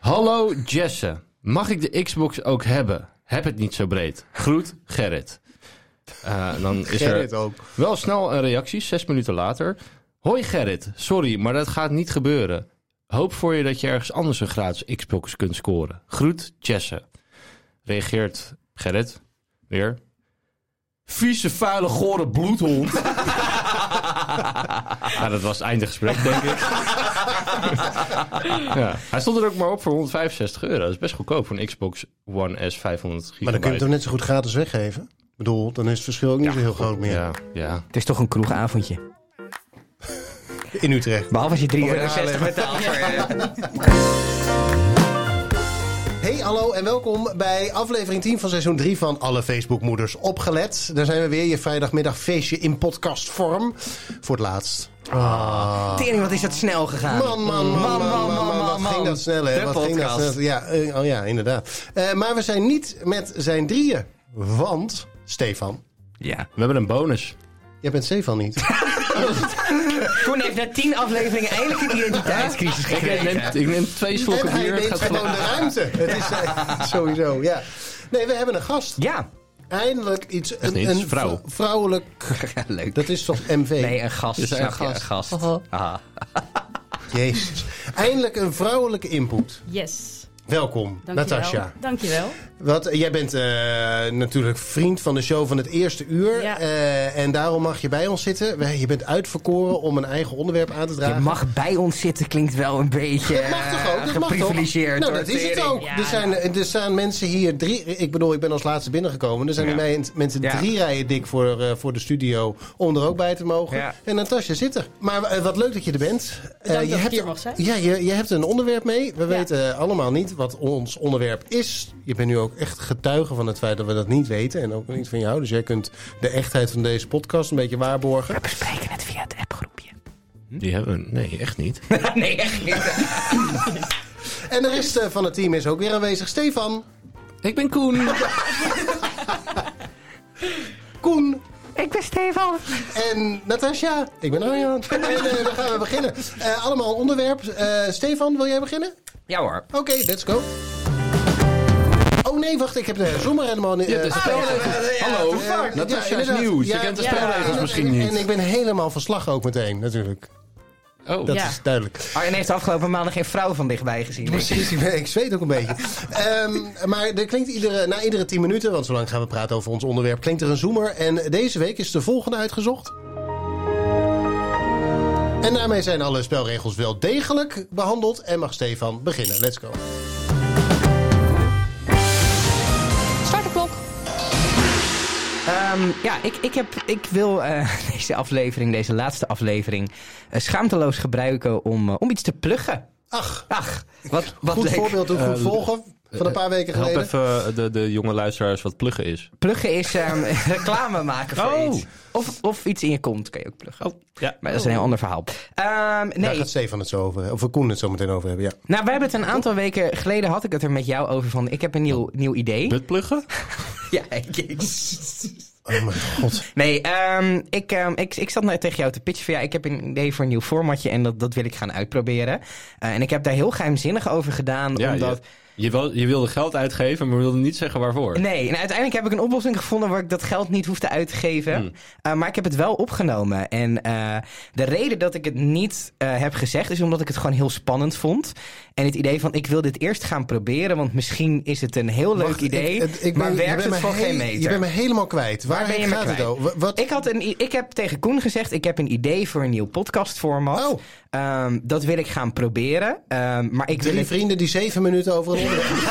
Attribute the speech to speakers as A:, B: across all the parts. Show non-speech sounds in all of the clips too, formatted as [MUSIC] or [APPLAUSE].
A: Hallo Jesse, mag ik de Xbox ook hebben? Heb het niet zo breed. Groet Gerrit. Eh, dan is er
B: Gerrit ook.
A: wel snel een reactie, zes minuten later. Hoi Gerrit, sorry, maar dat gaat niet gebeuren. Hoop voor je dat je ergens anders een gratis Xbox kunt scoren. Groet Jesse. Reageert Gerrit weer. Vieze, vuile, gore
B: [LAUGHS]
A: bloedhond. ja, dat was het einde gesprek, denk
B: [LAUGHS]
A: ik. ja. Hij stond er ook maar op voor 165 euro. Dat is best goedkoop voor een Xbox One S 500 gigabyte.
B: Maar dan kun je het toch net zo goed gratis weggeven? Ik bedoel, dan is het verschil ook niet zo heel groot meer.
A: Ja, ja.
C: Het is toch een kroegavondje.
B: In Utrecht.
C: Behalve als je 3,60
D: Ja,
C: euro
D: alleen.
C: betaalt. voor, eh,
B: Hey, hallo en welkom bij aflevering 10 van seizoen 3 van Alle Facebookmoeders Opgelet. Daar zijn we weer, je vrijdagmiddag feestje in podcastvorm. Voor het laatst. Ah.
C: Tering, wat is dat snel gegaan.
B: Man, man, man, man, man, man, wat
C: man.
B: ging dat snel, hè?
C: De
B: Wat ging dat
C: podcast.
B: snel? Ja, eh, oh ja, inderdaad. Eh, maar we zijn niet met zijn drieën, want Stefan,
C: Ja.
A: We hebben een bonus.
B: jij bent Stefan niet.
C: Koen heeft na 10 afleveringen eindelijk een identiteitscrisis
A: Ik neem,
C: gekregen.
A: ik neem twee [LAUGHS] slokken
B: en hij
A: bier. het
B: neemt
A: gaat [LAUGHS]
B: gewoon de ruimte. Het is eh, [LAUGHS] sowieso, ja. Nee, we hebben een gast.
C: Ja.
B: Eindelijk iets. Een,
A: niet,
B: een
A: vrouw.
B: vrou- vrouwelijk.
C: Leuk.
B: Dat is toch MV?
C: Nee, een gast.
A: Is hij
C: snap
A: een
C: je,
A: gast?
C: Een
B: Haha.
C: gast. Aha.
B: Jezus. Eindelijk een vrouwelijke input.
D: Yes.
B: Welkom,
D: Dankjewel.
B: Natasja.
D: Dankjewel.
B: Wat, eh, jij bent eh, natuurlijk vriend van de show van het eerste uur.
D: Ja.
B: eh, en daarom mag je bij ons zitten. Wij- Je bent uitverkoren om een eigen onderwerp aan te
C: Je
B: dragen.
C: mag bij ons zitten, klinkt wel een beetje
B: Dat mag toch ook?
C: eh,
B: Dat mag toch?
C: geprivilegeerd.
B: Nou,
C: hoor,
B: dat is het
C: tering.
B: ook.
D: Ja,
B: er, zijn, er staan mensen hier drie... Ik bedoel, ik ben als laatste binnengekomen. Er zijn er mij- mensen
C: Ja.
B: drie rijen dik voor, eh, voor de studio om er ook bij te mogen.
C: Ja.
B: En Natasja zit er. Maar eh, wat leuk dat je er bent. Eh,
D: dat
B: je
D: ik
B: hebt,
D: hier mag zijn.
B: Ja, je, je hebt een onderwerp mee. We
D: Ja.
B: weten eh, allemaal niet wat ons onderwerp is. Je bent nu ook echt getuige van het feit dat we dat niet weten. En ook niet van jou. Dus jij kunt de echtheid van deze podcast een beetje waarborgen.
C: We bespreken het via het appgroepje.
A: Die hebben we- Nee, echt niet.
C: nee, echt niet.
B: En de rest eh, van het team is ook weer aanwezig. Stefan,
A: Ik ben Koen.
B: Koen,
C: Ik ben Stefan.
B: En Natasja, ik ben Arjan. [LAUGHS] En eh, dan gaan we beginnen. Eh, allemaal een onderwerp. Eh, Stefan, wil jij beginnen?
C: Ja hoor.
B: Oké, let's go. Oh nee, wacht, ik heb de zomer helemaal niet.
A: Je hebt de
B: eh,
A: spelregels. Hallo. Natasja is
B: inderdaad.
A: nieuw. Je
B: Ja,
A: kent de
D: ja.
A: spelregels
B: en-
A: misschien
B: en-
A: niet.
B: En ik ben helemaal van slag ook meteen, natuurlijk.
A: oh,
B: Dat
D: Ja.
B: is duidelijk.
C: Arjen heeft de afgelopen maanden geen vrouw van dichtbij gezien.
B: Precies, ik, ben- ik zweet ook een beetje. Ehm, maar er klinkt iedere, na iedere 10 minuten, want zo lang gaan we praten over ons onderwerp, klinkt er een zoemer. En deze week is de volgende uitgezocht. En daarmee zijn alle spelregels wel degelijk behandeld en mag Stefan beginnen. Let's go.
C: Start de klok. Ehm, ja, ik, ik, heb, ik wil eh, [LAUGHS] deze aflevering, deze laatste aflevering, eh, schaamteloos gebruiken om, eh, om iets te pluggen.
B: Ach,
C: Ach, wat, wat
B: goed
C: leuk.
B: voorbeeld hoe goed
A: Eh,
B: volgen van een paar weken
A: Help
B: geleden.
A: even eh, de, de jonge luisteraars wat pluggen is.
C: Pluggen is ehm, [LAUGHS] reclame maken voor
A: Oh.
C: iets. Of, of iets in je kont kan je ook
B: Oh.
C: pluggen.
A: ja.
C: Maar dat is een heel ander verhaal. Ehm,
B: Daar
C: nee,
B: gaat Stefan het zo over hebben. Of we Koen het zo meteen over
C: [LAUGHS]
B: hebben, ja.
C: nou, we hebben het een aantal weken geleden had ik het er met jou over van ik heb een nieuw, nieuw idee.
A: pluggen?
C: [LAUGHS] Ja, ik-
B: Oh mijn god.
C: Nee, ehm, ik, ehm, ik, ik zat net tegen jou te pitchen van ja, ik heb een idee voor een nieuw formatje en dat, dat wil ik gaan uitproberen. Eh, en ik heb daar heel geheimzinnig over gedaan,
A: Ja,
C: omdat...
A: je, je, wil, je wilde geld uitgeven, maar wilde niet zeggen waarvoor.
C: Nee, en uiteindelijk heb ik een oplossing gevonden waar ik dat geld niet hoefde uit te geven.
B: Hmm.
C: Eh, maar ik heb het wel opgenomen. En eh, de reden dat ik het niet eh, heb gezegd is omdat ik het gewoon heel spannend vond. En het idee van ik wil dit eerst gaan proberen, want misschien is het een heel leuk
B: Wacht,
C: idee.
B: ik- ik
C: maar
B: ben- je
C: werkt
B: bent
C: het
B: me
C: voor
B: heel-
C: geen meter.
B: Je bent me helemaal kwijt. Waar,
C: ben je me
B: gaat het
C: kwijt?
B: over? Wat,
C: Ik, had een, i- ik heb tegen Koen gezegd, ik heb een idee voor een nieuw podcastformat.
B: Oh.
C: Ehm, dat wil ik gaan proberen. Ehm, maar ik wil
B: drie
C: het-
B: vrienden die zeven minuten over een onderwerp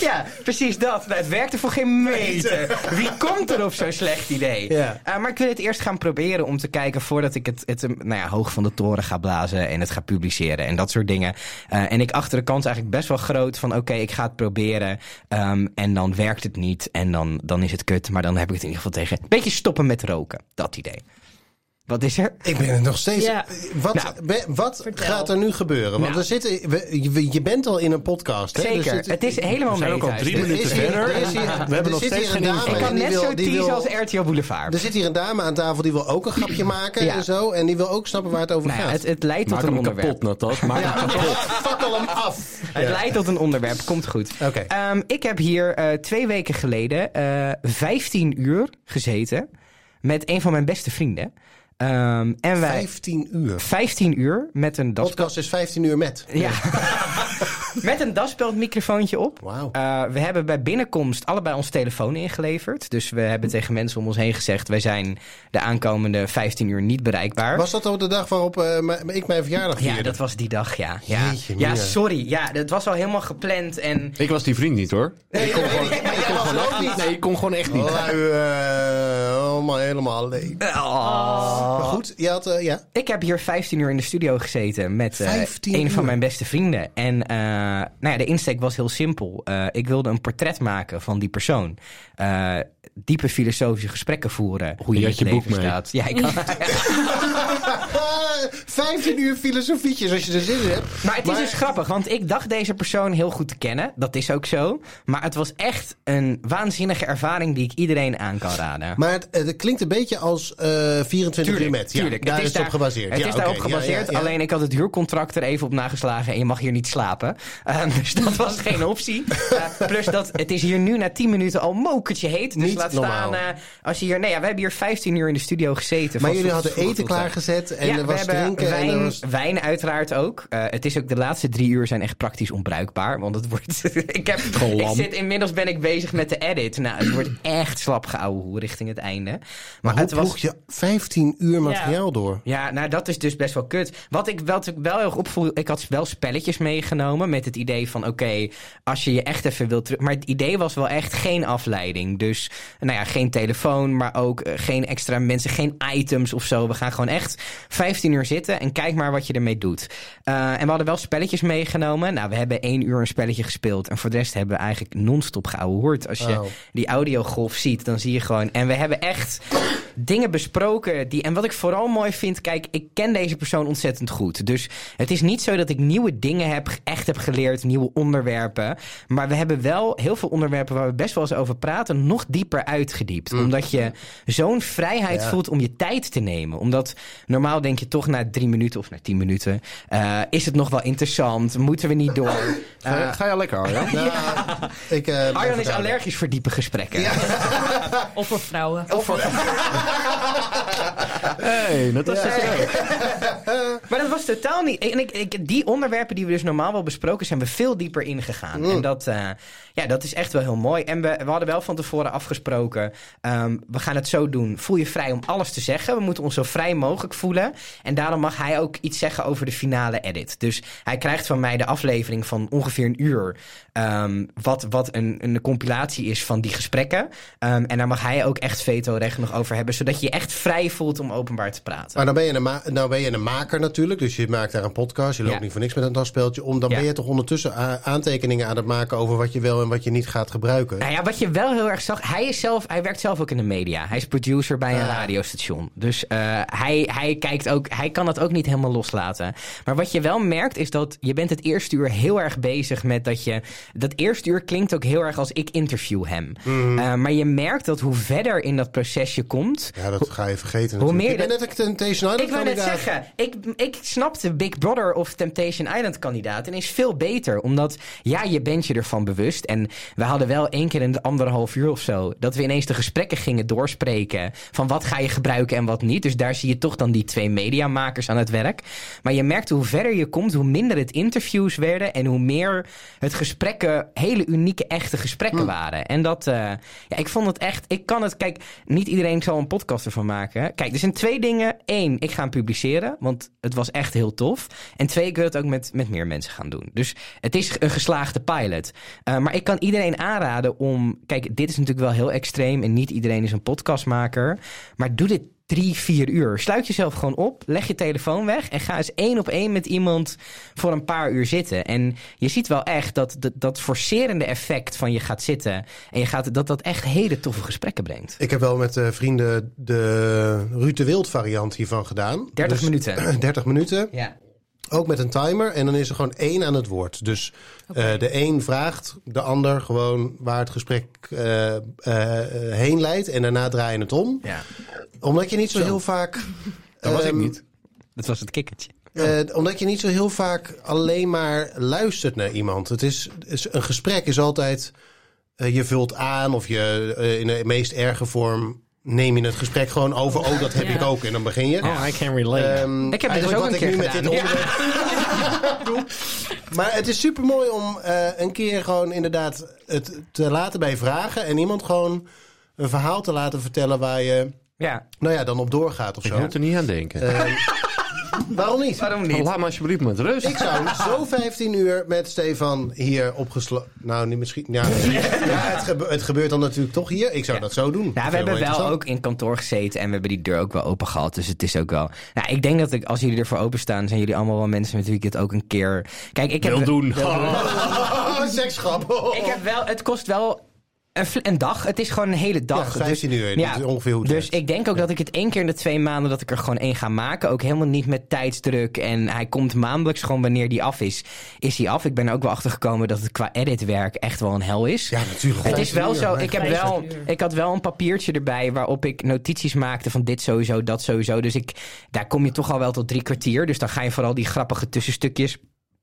C: Ja, precies dat. Nou, het werkte voor
A: [LAUGHS]
C: geen meter. Wie komt er op zo'n slecht idee?
B: Ja.
C: Eh, maar ik wil het eerst gaan proberen om te kijken voordat ik het, het eh, nou ja, hoog van de toren ga blazen en het ga publiceren en dat soort dingen. Eh, en ik achter de kans eigenlijk best wel groot van oké, ik ga het proberen ehm, en dan werkt het niet en dan, dan is het kut. Maar dan heb ik het in ieder geval tegen. Beetje stoppen met roken, dat idee. Wat is er?
B: Ik ben er nog steeds.
D: Ja.
B: Wat,
C: Nou,
B: we- wat
D: vertel.
B: gaat er nu gebeuren? Want
C: Nou.
B: we zitten, we- je- je bent al in een podcast. Hè?
C: Zeker.
B: Dus
C: het is helemaal
A: We zijn ook al
C: meta,
A: drie
C: is dit.
A: minuten
B: is hier-
A: verder.
B: er is hier-
A: We
B: er
A: hebben nog
B: zit
A: steeds
B: hier
A: geen
B: een dame
A: info.
C: Ik kan
B: Die
C: net
B: wil-
C: zo
B: die
C: teasen
B: wil-
C: als RTL Boulevard.
A: Dus-
B: Er zit hier een dame aan tafel die wil ook een grapje maken
C: Ja.
B: en zo. En die wil ook snappen waar het over
C: nou, ja,
B: gaat. Nou,
C: het, het leidt tot
A: Maak
C: een
A: hem
C: onderwerp.
A: kapot, Natas. Maak hem kapot.
B: Fakkel hem af.
C: Het leidt tot een onderwerp. Komt goed.
B: Oké.
C: Ehm, ik heb hier eh, twee weken geleden eh 15 uur gezeten met een van mijn beste vrienden. Ehm, en wij
B: 15 uur.
C: 15 uur met een das,
B: Podcast is 15 uur met.
C: ja, [LAUGHS] met een daspeldmicrofoontje op.
B: Wauw.
C: Eh, we hebben bij binnenkomst allebei ons telefoon ingeleverd. Dus we hebben tegen mensen om ons heen gezegd: wij zijn de aankomende 15 uur niet bereikbaar.
B: Was dat ook de dag waarop eh, m- ik mijn verjaardag vierde?
C: ja, dat was die dag, ja. Ja,
B: Jeetje,
C: ja
B: mina.
C: sorry. Ja, dat was al helemaal gepland. En
A: Ik was die vriend niet hoor.
B: Nee, ik kon gewoon, ik kon gewoon ook niet. Oh,
A: Nee, ik kon gewoon echt niet.
B: Lui, eh, helemaal, helemaal leeg.
C: Oh. Ah.
B: Maar goed, je had, eh, ja.
C: Ik heb hier 15 uur in de studio gezeten met eh,
B: 15
C: een
B: uur?
C: van mijn beste vrienden. En eh, nou ja, de insteek was heel simpel. Eh, ik wilde een portret maken van die persoon. Eh, diepe filosofische gesprekken voeren. Hoe je,
A: Je had
C: in het
A: je
C: leven
A: boek mee.
C: staat. Ja, ik had-
B: Ah, [LAUGHS] 15 uur filosofietjes als je er zin in hebt.
C: Maar het is dus grappig, want ik dacht deze persoon heel goed te kennen. Dat is ook zo. Maar het was echt een waanzinnige ervaring die ik iedereen aan kan raden.
B: Maar het, het klinkt een beetje als eh 24 uur
C: Tuurlijk,
B: met. Ja,
C: tuurlijk.
B: Daar
C: het
B: is het op gebaseerd.
C: Het
B: Ja,
C: is
B: oké.
C: daarop
B: Ja, ja,
C: gebaseerd.
B: ja.
C: Alleen eh, ik had het huurcontract er even op nageslagen en je mag hier niet slapen. Eh, [LAUGHS] dus dat was geen
B: [LAUGHS]
C: optie. Eh, plus dat het is hier nu na 10 minuten al mokertje heet. Dus
B: Niet
C: laat staan
B: normaal.
C: eh, als je hier... Nee, ja, we hebben hier 15 uur in de studio gezeten.
B: Maar
C: van
B: jullie
C: vroeg
B: hadden
C: tot
B: eten
C: vroeg tot, eh,
B: klaargezet en
C: ja,
B: er
C: we
B: was
C: hebben
B: drinken
C: wijn,
B: en er was...
C: wijn uiteraard ook. Eh, het is ook de laatste drie uur zijn echt praktisch onbruikbaar. Want het wordt. [LAUGHS] ik, heb, ik
A: lam.
C: zit inmiddels ben ik bezig met de edit. Nou, het wordt echt slap geouwehoer richting het einde. Maar,
B: Maar hoe
C: het was.
B: ploeg je 15 uur materiaal door?
C: Ja, nou dat is dus best wel kut. Wat ik wel, wat ik wel heel erg opvoel, ik had wel spelletjes meegenomen met het idee van oké, als je je echt even wilt terug... Maar het idee was wel echt geen afleiding. Dus nou ja, geen telefoon, maar ook eh, geen extra mensen, geen items of zo. We gaan gewoon echt 15 uur zitten en kijk maar wat je ermee doet. Eh, en we hadden wel spelletjes meegenomen. Nou, we hebben één uur een spelletje gespeeld en voor de rest hebben we eigenlijk non-stop gehoord. Als je
B: Oh.
C: die audiogolf ziet, dan zie je gewoon... En we hebben echt dingen besproken. Die, en wat ik vooral mooi vind, kijk, ik ken deze persoon ontzettend goed. Dus het is niet zo dat ik nieuwe dingen heb, echt heb geleerd, nieuwe onderwerpen. Maar we hebben wel heel veel onderwerpen waar we best wel eens over praten, nog dieper uitgediept. Omdat je zo'n vrijheid
B: Ja.
C: voelt om je tijd te nemen. Omdat normaal denk je toch na drie minuten of na tien minuten, eh, is het nog wel interessant? Moeten we niet door? Eh,
A: Ga- Ga je lekker, Arjan?
B: Nou, ik, eh, ben
C: Arjan is
B: verkouden.
C: allergisch voor diepe gesprekken.
D: Of voor vrouwen.
C: Oh, [LAUGHS]
A: Hey, Natas is er ook.
C: Maar dat was totaal niet. En ik, ik, die onderwerpen die we dus normaal wel besproken, zijn we veel dieper ingegaan. En dat, eh, ja, dat is echt wel heel mooi. En we, we hadden wel van tevoren afgesproken: ehm, we gaan het zo doen. Voel je vrij om alles te zeggen. We moeten ons zo vrij mogelijk voelen. En daarom mag hij ook iets zeggen over de finale edit. Dus hij krijgt van mij de aflevering van ongeveer een uur. ehm, wat wat een, een compilatie is van die gesprekken. Ehm, en daar mag hij ook echt veto-recht nog over hebben. Zodat je je echt vrij voelt om openbaar te praten.
B: Maar nou ben, je een ma- nou ben je een maker natuurlijk, dus je maakt daar een podcast. Je loopt
C: Ja.
B: niet voor niks met een daspeeltje om. Dan
C: Ja.
B: ben je toch ondertussen a- aantekeningen aan het maken over wat je wel en wat je niet gaat gebruiken.
C: Nou ja, wat je wel heel erg zag, hij, is zelf, hij werkt zelf ook in de media. Hij is producer bij een radiostation. Dus eh, hij, hij, kijkt ook, hij kan dat ook niet helemaal loslaten. Maar wat je wel merkt is dat je bent het eerste uur heel erg bezig met dat je... Dat eerste uur klinkt ook heel erg als ik interview hem. Eh, maar je merkt dat hoe verder in dat proces je komt...
B: Ja, dat ga je vergeten natuurlijk.
C: meer
B: ik ben
C: dat-
B: net een Temptation Island
C: Ik wil net
B: kandidaat.
C: zeggen, ik, ik snapte Big Brother of Temptation Island kandidaat en is veel beter. Omdat, ja, je bent je ervan bewust. En we hadden wel één keer in de anderhalf uur of zo... dat we ineens de gesprekken gingen doorspreken... van wat ga je gebruiken en wat niet. Dus daar zie je toch dan die twee mediamakers aan het werk. Maar je merkte hoe verder je komt, hoe minder het interviews werden... en hoe meer het gesprekken, hele unieke, echte gesprekken waren. En dat, eh, ja, ik vond het echt... Ik kan het, kijk, niet iedereen zal een podcast ervan maken. Kijk, er zijn twee dingen. Eén, ik ga hem publiceren, want het was echt heel tof. En twee, ik wil het ook met, met meer mensen gaan doen. Dus het is een geslaagde pilot. Eh, maar ik kan iedereen aanraden om... Kijk, dit is natuurlijk wel heel extreem en niet iedereen is een podcastmaker. Maar doe dit drie, vier uur. Sluit jezelf gewoon op, leg je telefoon weg en ga eens één op één met iemand voor een paar uur zitten. En je ziet wel echt dat dat, dat forcerende effect van je gaat zitten en je gaat, dat dat echt hele toffe gesprekken brengt.
B: Ik heb wel met eh, vrienden de Ruud de Wild variant hiervan gedaan.
C: 30
B: Dus [CLEARS THROAT]
C: minuten.
B: 30 minuten.
C: Ja.
B: Ook met een timer. En dan is er gewoon één aan het woord. Dus eh, de een vraagt, de ander gewoon waar het gesprek eh, eh, heen leidt. En daarna draai je het om.
C: ja.
B: Omdat je niet zo, heel vaak.
A: Dat was ik
B: ehm,
A: niet.
C: Dat was het kikkertje.
B: eh, omdat je niet zo heel vaak alleen maar luistert naar iemand. Het is, is- een gesprek is altijd. eh, je vult aan of je eh, in de meest erge vorm. neem je het gesprek gewoon over. Oh, dat heb
D: Ja.
B: ik ook. En dan begin je.
A: Oh, I can relate.
B: Ehm,
C: Ik heb dit dus
B: eigenlijk
C: ook
B: wat
C: een
B: ik
C: keer
B: nu met
C: gedaan.
B: dit onderwerp
C: [LAUGHS]
B: doe. Maar het is super mooi om eh, een keer gewoon inderdaad het te laten bij vragen. En iemand gewoon een verhaal te laten vertellen waar je
C: Ja,
B: nou ja, dan op doorgaat of
A: ik
B: zo.
A: moet er niet aan denken.
B: Ehm, waarom niet?
C: waarom
A: Oh,
C: niet?
A: laat me alsjeblieft met rust.
B: Ik zou zo 15 uur met Stefan hier opgesloten. Nou, niet misschien. Ja, ja, het, gebe- het gebeurt dan natuurlijk toch hier. Ik zou dat zo doen. Vind
C: Nou, we
B: ik
C: hebben wel
B: interessant.
C: ook in kantoor gezeten en we hebben die deur ook wel open gehad. Dus het is ook wel. Nou, ik denk dat ik, als jullie ervoor openstaan, zijn jullie allemaal wel mensen met wie ik het ook een keer. Kijk, ik heb.
A: Wil doen.
B: [LAUGHS] Oh, seksgrap.
C: Ik heb wel. Het kost wel. Een, fl- een dag. Het is gewoon een hele
B: Ja,
C: dag. dus
B: 15 uur.
C: ja,
B: dat is ongeveer hoe het
C: dus
B: werkt.
C: ik denk ook dat ik het één keer in de twee maanden dat ik er gewoon één ga maken. Ook helemaal niet met tijdsdruk. En hij komt maandelijks gewoon wanneer die af is. Is hij af? Ik ben er ook wel achter gekomen dat het qua editwerk echt wel een hel is.
B: Ja, natuurlijk.
C: Het is wel zo. Ik, heb wel,
D: 15 uur.
C: ik had wel een papiertje erbij waarop ik notities maakte van dit sowieso, dat sowieso. Dus ik, daar kom je toch al wel tot drie kwartier. Dus dan ga je vooral die grappige tussenstukjes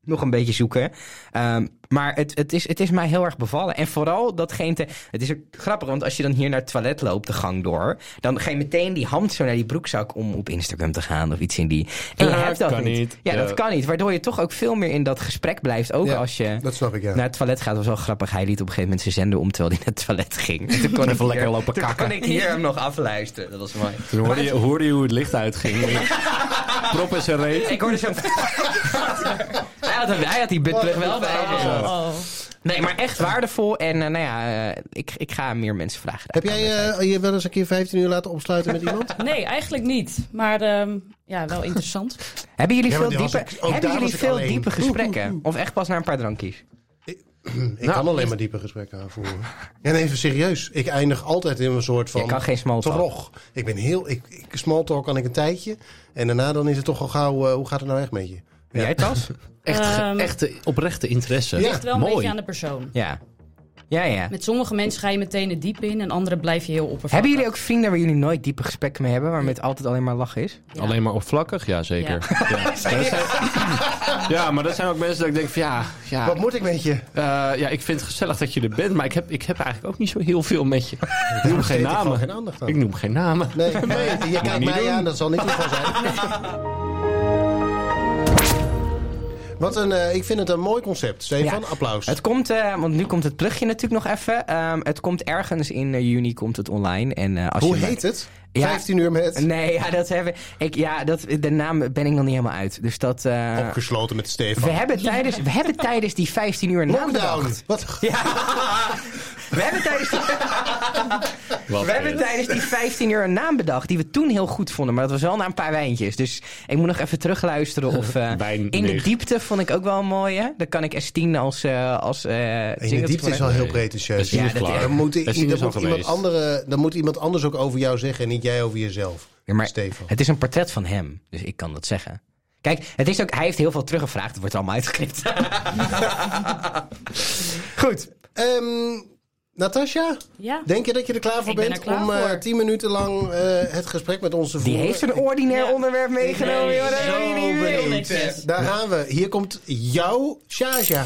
C: nog een beetje zoeken. Ehm, maar het, het, is, het is mij heel erg bevallen. En vooral datgene... Te, het is ook grappig, want als je dan hier naar het toilet loopt, de gang door... dan ga je meteen die hand zo naar die broekzak om op Instagram te gaan of iets in die... En je
A: Ja,
C: hebt dat
A: kan niet.
C: Ja,
A: Ja.
C: dat kan niet. Waardoor je toch ook veel meer in dat gesprek blijft. Ook
B: Ja.
C: als je Nou,
B: Dat snap ik, ja.
C: naar het toilet gaat, was wel grappig. Hij liet op een gegeven moment zijn zender om terwijl hij naar het toilet ging. En toen kon ik
A: Even lekker
C: hier-
A: lopen
C: toen
A: kakken.
C: kon ik hier hem nog afluisteren. Dat was mooi.
A: Toen hoorde je, hoorde je hoe het licht uitging. Prop is een reet.
C: Ik hoorde zo'n... [LAUGHS] hij, had, hij had die buttplug wel bij.
D: Oh, oh.
C: Nee, maar echt waardevol. En eh, nou ja, eh, ik, ik ga meer mensen vragen.
B: Heb jij eh, je wel eens een keer 15 uur laten opsluiten met
C: [CLEARS THROAT]
B: iemand?
D: Nee, eigenlijk niet. Maar ehm, ja, wel interessant.
C: Hebben jullie
B: Ja, maar
C: veel,
B: die was
C: diepe,
B: ik- ook
C: hebben
B: daar
C: jullie
B: was ik
C: veel
B: alleen.
C: diepe gesprekken? Of echt pas na een paar drankjes?
B: Ik
C: Nou,
B: kan alleen maar diepe gesprekken aanvoeren. En even serieus. Ik eindig altijd in een soort van...
C: Je kan geen small talk.
B: Trog. Ik ben heel... Ik, ik, small talk kan ik een tijdje. En daarna dan is het toch al gauw... eh, hoe gaat het nou echt met je? Ja.
C: Jij
B: [LAUGHS]
C: tas?
A: Echt, ge-
D: Ehm,
A: echte, oprechte interesse.
B: Ja.
D: Echt wel een
A: Mooi.
D: beetje aan de persoon.
C: Ja. Ja, ja.
D: Met sommige mensen ga je meteen het diep in en andere blijf je heel oppervlakkig.
C: Hebben jullie ook vrienden waar jullie nooit diepe gesprekken mee hebben, waarmee het altijd alleen maar lachen is?
D: Ja.
A: Alleen maar oppervlakkig? Ja, zeker. Ja. Maar [LAUGHS] dat zijn- Ja, maar dat zijn ook mensen dat ik denk van ja, ja,
B: Wat moet ik met je?
A: eh, ja, ik vind het gezellig dat je er bent, maar ik heb, ik heb eigenlijk ook niet zo heel veel met je. Ik noem geen
B: Ik heb gewoon
A: namen.
B: geen aandacht aan.
A: Ik noem geen namen.
C: [LAUGHS]
B: Nee, nee, je kijkt
A: niet
B: mij
A: doen.
B: aan, dat zal niet het geval zijn. Wat een, eh, ik vind het een mooi concept. Stefan,
C: Ja.
B: applaus.
C: Het komt, eh, want nu komt het plugje natuurlijk nog even. Ehm, het komt ergens in eh, juni komt het online. En, eh, als
B: Hoe
C: je
B: heet het?
C: Ja.
B: 15 uur met...
C: Nee, ja, dat hebben, ik, ja, dat, de naam ben ik nog niet helemaal uit. Dus dat. eh,
B: Opgesloten met
C: we,
B: Stefan.
C: hebben tijdens, we hebben tijdens die 15 uur
B: Lockdown.
C: nagedacht.
B: Wat?
C: Ja, we hebben tijdens die
A: Wat
C: We hebben
A: eh,
C: tijdens die 15 uur een naam bedacht die we toen heel goed vonden. Maar dat was wel na een paar wijntjes. Dus ik moet nog even terugluisteren. Of, eh,
A: Wijn
C: in de
A: leeg.
C: diepte vond ik ook wel een mooie. Dan kan ik S10 als... eh als eh,
B: En
C: singeltje
B: je diepte
C: voor-
B: is wel heel
A: Nee.
B: pretentieus.
A: Benzine
C: Ja,
A: is
C: dat-
A: klaar.
B: Dan moet, i-
A: Benzine
B: dan
A: is al
B: moet iemand
A: geweest.
B: andere, dan moet iemand anders ook over jou zeggen en niet jij over jezelf.
C: Ja, maar
B: Stefan.
C: het is een portret van hem. Dus ik kan dat zeggen. Kijk, het is ook, hij heeft heel veel teruggevraagd. Het wordt allemaal uitgeknipt. [LAUGHS] Goed.
B: Ehm, Natasja,
D: [LAUGHS] Ja.
B: denk je dat je er klaar voor
D: Ik ben
B: bent
D: er klaar
B: om eh,
D: voor.
B: 10 minuten lang eh, het gesprek met onze te
C: Die
B: voeren?
C: heeft een ordinair
D: Ja.
C: onderwerp meegenomen.
D: Nee,
C: joh. Dat
D: zo
C: wil je niet
D: benieuwd.
C: weten.
D: netjes.
B: Daar gaan we. Hier komt jouw Shaja.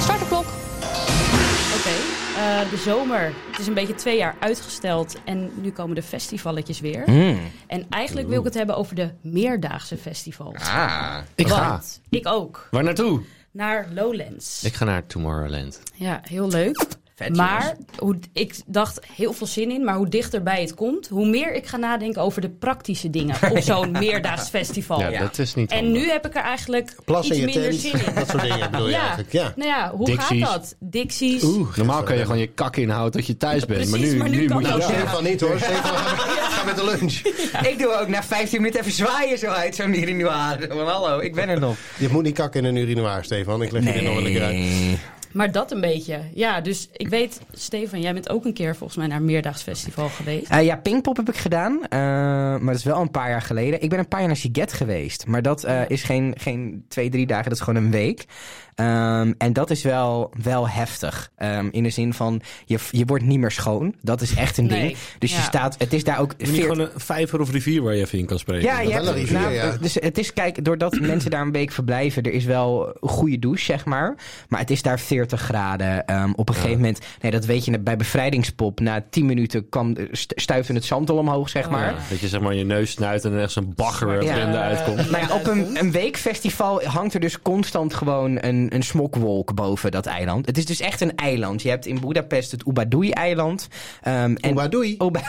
D: Start de klok. Oké, eh, de zomer. Het is een beetje twee jaar uitgesteld en nu komen de festivalletjes weer.
C: Mm.
D: En eigenlijk wil ik het hebben over de meerdaagse festivals.
C: Ah.
A: Ik ga.
D: Want ik ook.
A: Waar naartoe?
D: Naar Lowlands.
A: Ik ga naar Tomorrowland.
D: Ja, heel leuk.
C: Vet,
D: Maar
C: jongens.
D: hoe, ik dacht heel veel zin in, maar hoe dichterbij het komt, hoe meer ik ga nadenken over de praktische dingen op zo'n meerdaags festival.
A: Ja,
C: ja.
A: dat is niet
D: Oh, En
A: handig.
D: nu heb ik er eigenlijk
B: Plas in
D: iets
B: je
D: minder
B: tent,
D: zin
B: [LAUGHS]
D: in.
B: dat soort dingen bedoel je eigenlijk. Ja.
D: Nou ja, hoe
A: Dixies.
D: gaat dat? Dixies.
A: Normaal kan je gewoon je kak inhouden dat je thuis bent. maar
D: Precies,
A: nu,
D: maar nu kan
A: moet
D: dat
A: je...
B: Nou,
D: Ja.
B: Stefan niet hoor. Stefan, [LAUGHS] ga- ga met de lunch.
C: Ik doe ook na 15 minuten even zwaaien zo uit zo'n urinoir. Maar hallo, ik ben er nog.
B: Je moet niet kakken in een urinoir, Stefan. Ik leg je dit nog wel een keer uit.
D: Maar dat een beetje. Ja, dus ik weet, Stefan, jij bent ook een keer volgens mij naar een meerdaags festival geweest.
C: Eh, ja, Pinkpop heb ik gedaan, eh, maar dat is wel een paar jaar geleden. Ik ben een paar jaar naar Siget geweest, maar dat eh, is geen, geen twee, drie dagen, dat is gewoon een week. Ehm, en dat is wel, wel heftig, Ehm, in de zin van, je, je wordt niet meer schoon. Dat is echt een
D: Nee,
C: ding. Dus je
D: ja.
C: staat, het is daar ook...
A: Moet je
C: veert-
A: gewoon een vijver of rivier waar je even in kan spreken.
C: ja, je
B: wel
C: hebt-
B: een rivier,
C: nou,
D: eh,
B: ja.
C: Dus het is,
A: [CLEARS THROAT]
C: kijk, doordat mensen daar een week verblijven, er is wel een goede douche, zeg maar. Maar het is daar 40 graden. Ehm, op een gegeven moment, nee, dat weet je net, bij Bevrijdingspop, na 10 minuten kwam, eh, st- stuitte het zand al omhoog, zeg maar.
A: Oh, Ja, dat je zeg maar je neus snuit en er echt zo'n bagger er
C: Ja.
A: blinde uitkomt.
C: Nou ja, op een, een weekfestival hangt er dus constant gewoon een, een smokwolk boven dat eiland. Het is dus echt een eiland. Je hebt in Boedapest het Ubadui-eiland. ehm en-
B: Oeba, doei.
C: [LAUGHS] Oeba-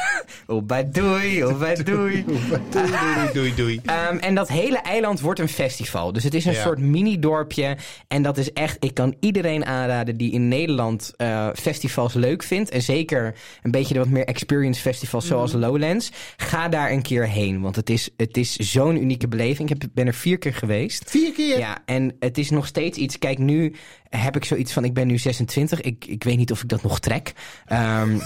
C: Ubadui, Ubadui.
B: Doei, doei, doei, doei.
C: Ehm, en dat hele eiland wordt een festival. Dus het is een
B: Ja.
C: soort mini-dorpje. En dat is echt, ik kan iedereen aanraden die in Nederland eh, festivals leuk vindt. En zeker een beetje de wat meer experience festivals zoals Lowlands. Ga daar een keer heen, want het is, het is zo'n unieke beleving. Ik heb, ben er vier keer geweest.
B: Vier keer.
C: Ja, en het is nog steeds iets. Kijk, nu heb ik zoiets van: ik ben nu 26. Ik, ik weet niet of ik dat nog trek. Ehm,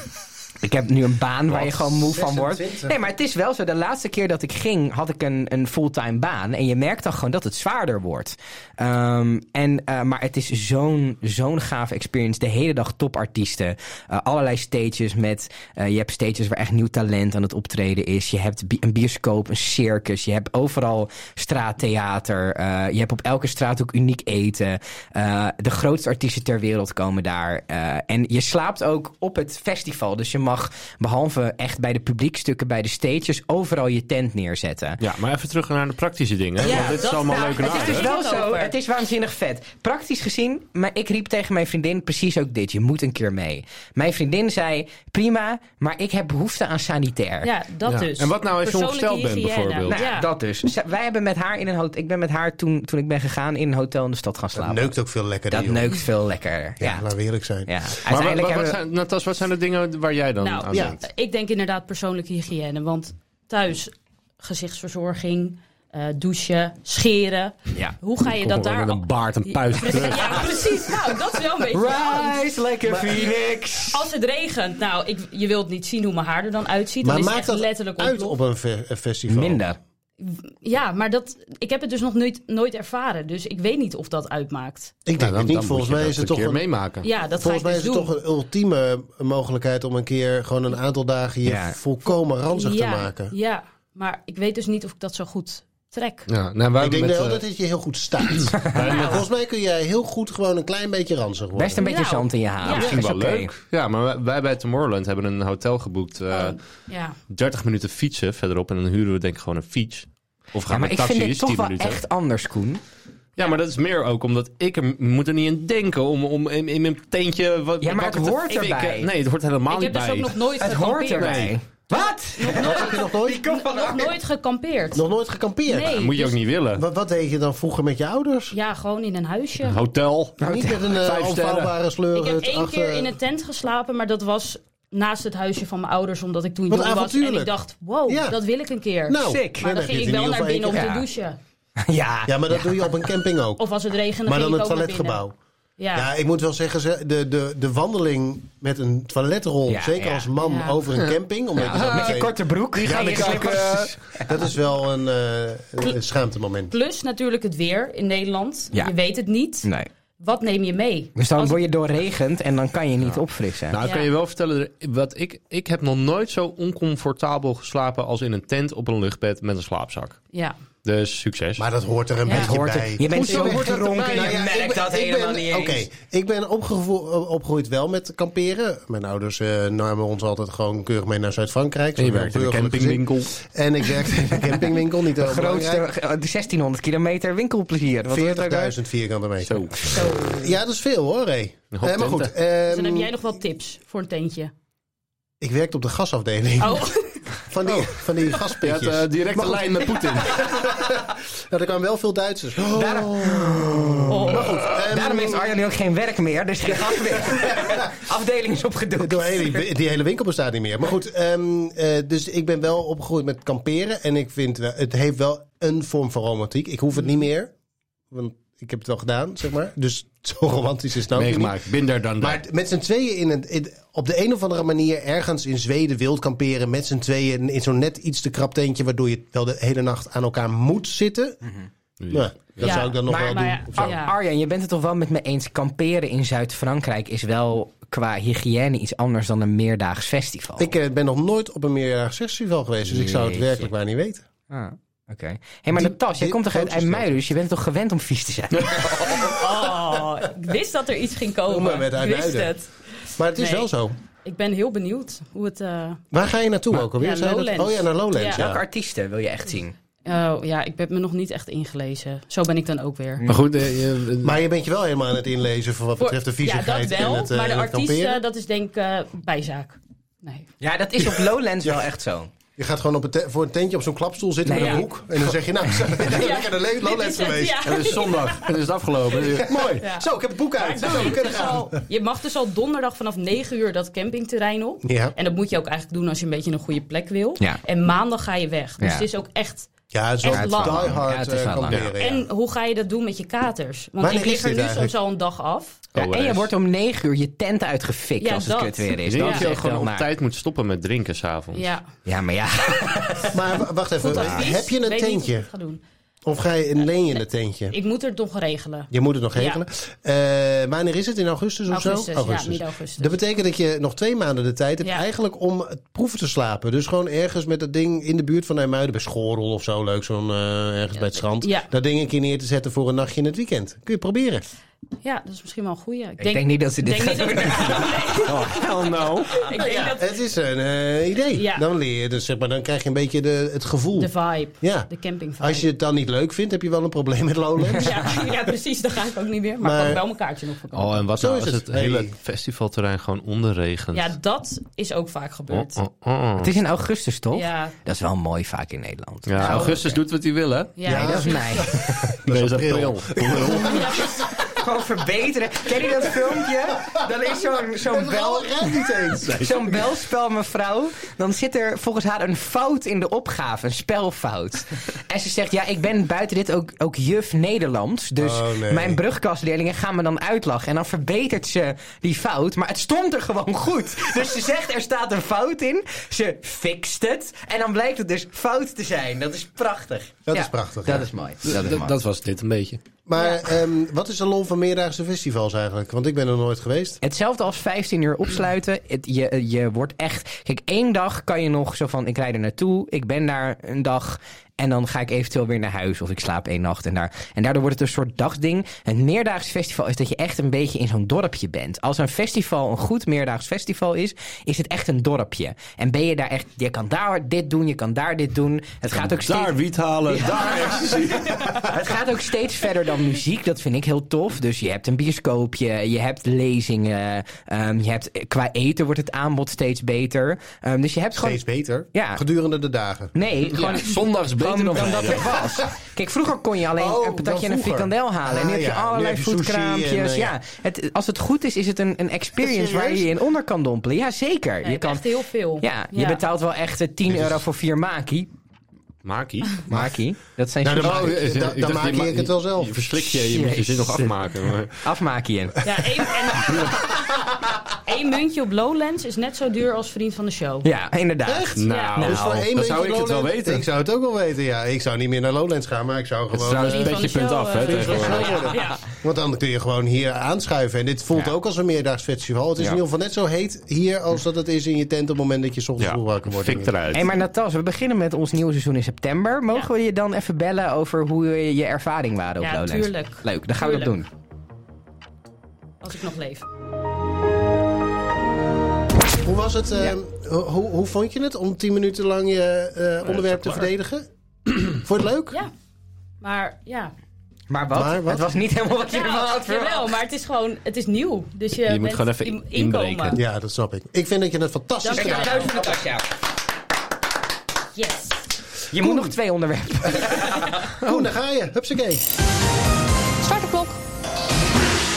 C: ik heb nu een baan waar je gewoon moe van wordt.
B: 26?
C: Nee, maar het is wel zo. De laatste keer dat ik ging, had ik een, een fulltime baan. En je merkt dan gewoon dat het zwaarder wordt. Ehm, en, eh, maar het is zo'n zo'n gave experience. De hele dag topartiesten. Eh, allerlei stages met... eh, je hebt stages waar echt nieuw talent aan het optreden is. Je hebt bi- een bioscoop, een circus. Je hebt overal straattheater. Eh, je hebt op elke straat ook uniek eten. Eh, de grootste artiesten ter wereld komen daar. Eh, en je slaapt ook op het festival. Dus je mag behalve echt bij de publiekstukken, bij de stages, overal je tent neerzetten.
A: Ja, maar even terug naar de praktische dingen.
D: Ja,
A: want dit is
D: dat-
A: allemaal
D: nou,
A: leuk en
D: het is
C: Het
A: aardig.
C: is dus wel
D: het
C: zo,
D: over.
C: het is waanzinnig vet. Praktisch gezien, maar ik riep tegen mijn vriendin precies ook dit. Je moet een keer mee. Mijn vriendin zei, prima, maar ik heb behoefte aan sanitair.
D: Ja, dat
A: Ja.
D: dus.
A: En wat nou als je
D: Persoonlijke
A: ongesteld bent
D: hygiëne.
A: bijvoorbeeld?
C: Nou,
D: ja.
C: dat dus. Zij- Wij hebben met haar in een hotel. Ik ben met haar toen, toen ik ben gegaan in een hotel in de stad gaan
B: Dat
C: slapen.
B: neukt ook veel lekkerder,
C: Dat
B: joh.
C: neukt veel lekkerder.
B: Ja,
C: Ja.
B: laten we eerlijk zijn.
C: Ja.
A: Maar
C: Uiteindelijk
A: wat, wat,
C: hebben we-
A: zijn, Natas, wat zijn de dingen waar jij dan aan
D: Nou,
B: ja.
A: denkt?
D: ik denk inderdaad persoonlijke hygiëne. Want thuis gezichtsverzorging, eh, douchen, scheren.
C: Ja.
D: Hoe ga je dat daar...
A: met een baard, een puist.
D: Precies, ja, precies. Nou, dat is wel een beetje... de angst.
C: Rise like a phoenix.
D: Als het regent, nou, ik, je wilt niet zien hoe mijn haar er dan uitziet.
B: Maar
D: dan is
B: maakt
D: het
B: dat
D: echt letterlijk
B: uit op
D: ontploft.
B: een fe- een festival?
C: Minder.
D: Ja, maar dat, ik heb het dus nog nooit, nooit ervaren. Dus ik weet niet of dat uitmaakt.
B: Ik
A: Nou,
B: denk het niet. Volgens mij is het toch
A: een keer
B: een...
A: meemaken.
D: Ja, dat
B: Volgens
D: ga
B: mij
D: ik
B: is
D: dus
B: het
D: doen.
B: toch een ultieme mogelijkheid om een keer gewoon een aantal dagen je
C: Ja.
B: volkomen ranzig
D: ja,
B: te maken.
D: Ja, maar ik weet dus niet of ik dat zo goed trek.
A: Ja, nou, wij
B: Ik denk
A: met,
B: wel
A: eh,
B: dat het je heel goed staat.
A: [LAUGHS]
B: Volgens mij kun jij heel goed gewoon een klein beetje ranzig worden.
C: Best een beetje
D: Nou,
C: zand in je haar.
D: ja.
A: misschien
C: Is
A: wel
C: oké.
A: leuk. Ja, maar wij, wij bij Tomorrowland hebben een hotel geboekt. eh,
D: Oh. Ja.
A: 30 minuten fietsen verderop en dan huren we denk ik gewoon een fiets. Of gaan
C: Ja, maar
A: met
C: ik
A: taxi,
C: vind dit
A: is
C: toch
A: 10
C: wel
A: minuten.
C: echt anders, Koen.
A: Ja, maar dat is meer ook omdat ik er moet er niet in denken om, om in, in mijn teentje wat
C: Ja, maar het
A: wakker te
C: hoort
A: fikken.
C: erbij.
A: Nee, het hoort helemaal
D: Ik
A: niet
D: heb dus
A: bij.
D: ook nog nooit
C: Het hoort
D: gekampeerd.
C: erbij. Wat?
B: Wat heb je nog nooit,
D: Nog nooit gekampeerd.
B: nog nooit gekampeerd?
D: Nee.
A: Moet je
D: dus-
A: ook niet willen.
B: Wat, wat deed je dan vroeger met je ouders?
D: Ja, gewoon in een huisje.
A: Hotel. [LAUGHS]
B: Niet met een
A: Nou, Vijf
B: eh
A: sterren.
B: onvouwbare sleur.
D: Ik heb
B: het
D: één
B: achter-
D: keer in een tent geslapen, maar dat was naast het huisje van mijn ouders, omdat ik toen
B: Wat
D: jong was. En ik
B: avontuurlijk.
D: dacht, wow,
B: Ja.
D: dat wil ik een keer.
B: Nou,
C: Sick.
B: dan
D: maar dan
B: heb je
D: ging
B: het
D: ik
B: in
D: wel
B: ieder
D: naar
B: geval één
D: binnen om
C: keer.
D: te
C: Ja.
D: douchen.
C: Ja.
B: keer. Ja, maar dat doe je op een camping ook.
D: Of als het regende,
B: maar
D: ging
B: dan
D: ik
B: een
D: ook naar binnen.
B: toiletgebouw.
D: Ja.
B: Ja, ik moet wel zeggen, ze- de, de, de wandeling met een toiletrol,
C: Ja,
B: zeker
C: ja.
B: als man
D: Ja.
B: over een camping, omdat je dat
C: Met je
B: meteen-
C: korte broek. Die
A: gaan de kakken.
B: dat is wel een eh, een schaamtemoment.
D: Plus natuurlijk het weer in Nederland.
C: Ja.
D: Je weet het niet.
C: Nee.
D: Wat neem je mee?
C: Dus dan
D: Als-
C: word je doorregend en dan kan je niet opfrissen.
A: Nou, ik kan
D: Ja.
A: je wel vertellen, er- wat ik, ik heb nog nooit zo oncomfortabel geslapen als in een tent op een luchtbed met een slaapzak.
D: Ja.
A: Dus succes.
B: Maar dat hoort er een
D: Ja.
B: beetje
C: hoort er-
B: bij.
C: je bent
A: Hoezo
C: zo
A: hoort dat
C: dronken,
A: erbij?
C: je
A: Nou ja,
C: merkt dat helemaal niet
B: Oké,
C: eens.
B: ik ben opgevo- opgegroeid wel met kamperen. Mijn ouders eh, namen ons altijd gewoon keurig mee naar Zuid-Frankrijk.
A: En je
B: Zo'n
A: werkt in een
B: burgerlijk gezin.
A: campingwinkel.
B: En ik werkte in een campingwinkel,
A: [LAUGHS]
B: niet
C: De
B: heel
C: grootste,
B: belangrijk.
C: eh, 1600 kilometer winkelplezier. Wat eh, hoort daarbij?
B: 40.000 vierkante meter.
A: Zo.
D: Zo.
B: Ja, dat is veel hoor, Ray.
A: Een hoop
B: Eh, maar goed,
A: tenten.
D: Dus dan heb
B: ehm,
D: jij nog wel tips voor een tentje.
B: ik werkte op de gasafdeling
D: Oh,
B: van die, van die
A: Je had
B: gaspitjes.
A: eh, direct een lijn met Poetin.
B: Nou, er kwamen wel veel Duitsers.
C: Daar-
D: Oh.
B: Maar goed, ehm,
C: Daarom heeft Arjan nu ook geen werk meer. Dus geen gas meer. afdeling is opgedoekt.
B: Door hele- die hele winkel bestaat niet meer. Maar goed, ehm, eh, dus ik ben wel opgegroeid met kamperen. En ik vind wel, het heeft wel een vorm van romantiek. Ik hoef het niet meer. Want ik heb het wel gedaan, zeg maar. Dus [LAUGHS] zo romantisch is het nou ook niet.
A: Meegemaakt. Binder dan
B: Maar
A: dat.
B: met z'n tweeën in een, in- op de een of andere manier ergens in Zweden wild kamperen. Met z'n tweeën in zo'n net iets te krap tentje. Waardoor je wel de hele nacht aan elkaar moet zitten. Nou, dat
D: Ja,
B: zou ik dan nog
D: maar-
B: wel
D: maar
B: doen.
D: Nou ja,
B: of zo.
D: ja.
C: Arjan, je bent het toch wel met me eens. Kamperen in Zuid-Frankrijk is wel qua hygiëne iets anders dan een meerdaags festival.
B: Ik eh, ben nog nooit op een meerjarig festival geweest. Dus ik zou het
C: Jeetje.
B: werkelijk waar niet weten.
C: Ah, oké. hey, maar
B: Die-
C: de tas, jij
B: die
C: komt toch uit
B: foto's
C: IJmuiden, dus je bent toch gewend om vies te zijn?
D: oh, ik wist dat er iets ging
B: Kom maar
D: komen.
B: met
D: Ik wist
B: uitbuiten.
D: het.
B: Maar het is
D: Nee.
B: wel zo.
D: Ik ben heel benieuwd hoe het... eh,
B: Waar ga je naartoe ook alweer?
D: ja,
B: Zei je dat?
D: Lowlands.
B: Oh ja, naar Lowlands.
D: Ja.
B: Ja.
C: Welke artiesten wil je echt zien?
D: oh, ja, ik heb me nog niet echt ingelezen. Zo ben ik dan ook weer.
A: Maar goed, eh, eh,
B: Maar je bent je wel helemaal aan het inlezen voor wat betreft de
D: ja, dat
B: viezigheid
D: wel.
B: en het, eh,
D: maar de
B: en het kamperen.
D: artiesten, dat is denk ik eh, bijzaak. Nee.
C: Ja, dat is op Lowlands wel echt zo.
B: Je gaat gewoon op een te- voor een tentje op zo'n klapstoel zitten
C: Nee,
B: met een
D: ja.
B: hoek. En dan zeg je, nou, [LAUGHS] ik ben lekker naar Le-
D: Dit is
B: Lowlands
D: het,
B: geweest. dus-
D: ja.
A: het is [LAUGHS] zondag. Het is afgelopen.
B: Mooi.
D: Ja.
B: Zo, ik heb het boek uit. Zo, Nou, we kunnen
D: Dus
B: gaan.
D: al- je mag dus al donderdag vanaf 9 uur dat campingterrein op.
B: Ja.
D: En dat moet je ook eigenlijk doen als je een beetje een goede plek wil.
C: Ja.
D: En maandag ga je weg. Dus
C: Ja.
D: het is ook echt.
B: Ja, het is wel
D: Echt lang.
B: die
C: Ja, het
B: hard
C: is
B: eh,
C: wel lang.
B: kamperen. ja.
D: En hoe ga je dat doen met je katers? Want
B: Wanneer is
D: ik lig er
B: dit
D: nu
B: eigenlijk?
D: soms al een dag af.
C: Ja,
A: Oh,
C: en je
A: is-
C: wordt om negen uur je tent uitgefikt
D: Ja,
C: als het
D: dat.
C: kut weer
A: Ik denk
C: is. Dat
A: dat
C: is
A: je ook
C: echt
A: gewoon
C: wel
A: op
C: naar.
A: tijd moet stoppen met drinken s'avonds.
D: Ja.
C: Ja, maar ja.
B: Maar w- wacht even,
D: Goed advies.
B: Eh, heb je een
D: Weet niet hoe ik
B: tentje?
D: het ga doen.
B: Of ga je, leen je een tentje?
D: Ik moet het nog regelen.
B: Je moet het nog
D: Ja.
B: regelen. Eh, wanneer is het? In augustus of
D: Augustus,
B: zo?
D: ja, midden augustus.
B: Dat betekent dat je nog twee maanden de tijd hebt
D: Ja.
B: eigenlijk om proeven te slapen. Dus gewoon ergens met dat ding in de buurt van IJmuiden, bij Schorel of zo, leuk zo'n eh, ergens bij het strand.
D: Ja.
B: Dat ding een keer neer te zetten voor een nachtje in het weekend. Kun je proberen.
D: Ja, dat is misschien wel een goeie. [LAUGHS] Ik
C: Ik denk niet dat ze dit [LAUGHS]
D: denk
C: gaan
D: niet dat
C: doen.
A: Oh,
C: Hell no.
D: ik denk dat
B: Het is een eh, idee.
D: Ja.
B: Dan leer je, dus zeg maar, dan krijg je een beetje de, het gevoel.
D: de vibe.
B: ja.
D: De camping vibe.
B: Als je het dan niet leuk vindt, heb je wel een probleem met
A: [LAUGHS]
B: Lowlands.
D: [LAUGHS] ja, ja, precies. Dan ga ik ook niet meer. Maar,
B: Maar-
D: ik kan wel mijn kaartje nog verkopen.
A: Oh, en wat
B: Zo
A: nou
B: is
A: als het,
B: het.
A: hele
B: Hey.
A: festivalterrein gewoon onderregent?
D: Ja, dat is ook vaak
A: Oh,
D: gebeurd.
A: oh, oh.
C: Het is in augustus, toch?
D: Ja,
C: Dat is wel mooi vaak in Nederland.
A: Ja, augustus doet wat hij wil, hè?
D: ja.
B: Ja,
C: Nee, dat is mij.
A: Deze
B: april.
C: [LAUGHS] Gewoon verbeteren. Ken je dat filmpje? Dan is zo'n zo'n bel...
B: rijdt niet eens.
C: Zo'n belspel, mevrouw. Dan zit er volgens haar een fout in de opgave. Een spelfout. En ze zegt, ja, ik ben buiten dit ook, ook juf Nederlands. Dus
B: Oh, nee.
C: mijn brugkastleerlingen gaan me dan uitlachen. En dan verbetert ze die fout. Maar het stond er gewoon goed. Dus ze zegt, er staat een fout in. Ze fixt het. En dan blijkt het dus fout te zijn. Dat is prachtig.
B: Dat
C: Ja,
B: is prachtig,
C: Dat
B: ja.
C: is mooi. Dat is mooi.
A: Dat was dit een beetje.
B: Maar ehm, wat is de lol van meerdaagse festivals eigenlijk? Want ik ben er nooit geweest.
C: Hetzelfde als 15 uur opsluiten. Het, je, je wordt echt. Kijk, één dag kan je nog zo van: ik rijd er naartoe, ik ben daar een dag. En dan ga ik eventueel weer naar huis of ik slaap één nacht en daar. En daardoor wordt het een soort dagding. Een meerdaags festival is dat je echt een beetje in zo'n dorpje bent. Als een festival een goed meerdaags festival is, is het echt een dorpje. En ben je daar echt. Je kan daar dit doen, je kan daar dit doen. Het gaat ook steeds
A: Daar wiet halen, daar ecstasy.
C: het gaat ook steeds verder dan muziek. Dat vind ik heel tof. Dus je hebt een bioscoopje, je hebt lezingen. ehm, je hebt, qua eten wordt het aanbod steeds beter. Ehm, dus je hebt gewoon.
B: Steeds beter.
C: Ja.
B: Gedurende de dagen.
C: Nee, gewoon.
A: Ja, zondags beter
C: gewoon
A: dan
C: dan dat
A: vrijdag.
C: het was. Kijk, vroeger kon je alleen
B: Oh,
C: een patatje
B: dan
C: en een
B: vroeger.
C: frikandel halen. en nu
B: Ah,
C: heb je
B: ja. Nu
C: allerlei
B: heb je sushi
C: foodkraampjes.
B: en, eh,
C: ja.
B: ja.
C: Het, als het goed is, is het een, een experience waar je je in onder kan dompelen. Ja, zeker.
D: Nee,
C: je, kan,
D: echt heel veel.
C: ja, je betaalt wel echt eh, 10 euro voor vier maki.
A: Maakie.
C: Maki, dat zijn
B: Nou, dan
C: sushi-
A: Oh,
B: maak ik, dan- dan maak ik het wel zelf.
A: Je verslik je, je moet je zin nog
B: [LAUGHS]
C: Jezus.
A: afmaken. Maar
C: afmakien.
D: Ja, één, en, [LAUGHS] Eén muntje op Lowlands is net zo duur als vriend van de show.
C: Ja, inderdaad.
B: Echt?
A: Nou,
B: Dus voor één
A: dan
B: muntje
A: zou ik het wel
B: Lowlands-
A: weten.
B: Ik zou het ook wel weten, ja. Ik zou niet meer naar Lowlands gaan, maar ik zou
A: Het is
B: gewoon...
A: trouwens een
D: Vriend van
A: beetje punt
D: de show,
A: af,
D: eh,
A: hè,
D: vriend van de
A: tegenwoordig.
D: show. Ja.
B: Want dan kun je gewoon hier aanschuiven. En dit voelt
A: Ja.
B: ook als een meerdaags festival. Het is
A: Ja.
B: in ieder geval net zo heet hier als dat het is in je tent op het moment dat je 's ochtends vroeg wakker
A: Ja,
B: wordt.
A: fik eruit.
C: Hey, maar Natas, we beginnen met ons nieuwe seizoen in september. Mogen
D: Ja.
C: we je dan even bellen over hoe je, je ervaring waren op
D: Ja,
C: Lowlands?
D: tuurlijk.
C: Leuk, dan gaan we dat
D: Tuurlijk.
C: doen.
D: Als ik nog leef.
B: Hoe was het? eh,
C: Ja.
B: ho- hoe, hoe vond je het om tien minuten lang je eh, onderwerp te
A: klaar.
B: verdedigen? [CLEARS THROAT] Vond je het leuk?
D: Ja. Maar ja.
C: Maar wat?
B: Maar wat?
C: Het was niet helemaal wat je ervan had
D: Nou, jawel,
C: verwacht.
D: maar het is gewoon, het is nieuw. Dus je,
A: Je moet
D: bent
A: gewoon even
D: in-
A: inbreken.
D: inkomen.
B: Ja, dat snap ik. Ik vind dat je het fantastisch
D: Dank je.
C: Kijk,
B: gedaan
C: applaus voor Natasja.
D: Yes.
C: Je moet nog twee [LAUGHS] onderwerpen.
B: hebt. Koen, daar ga je. Hupsakee.
D: Start de klok.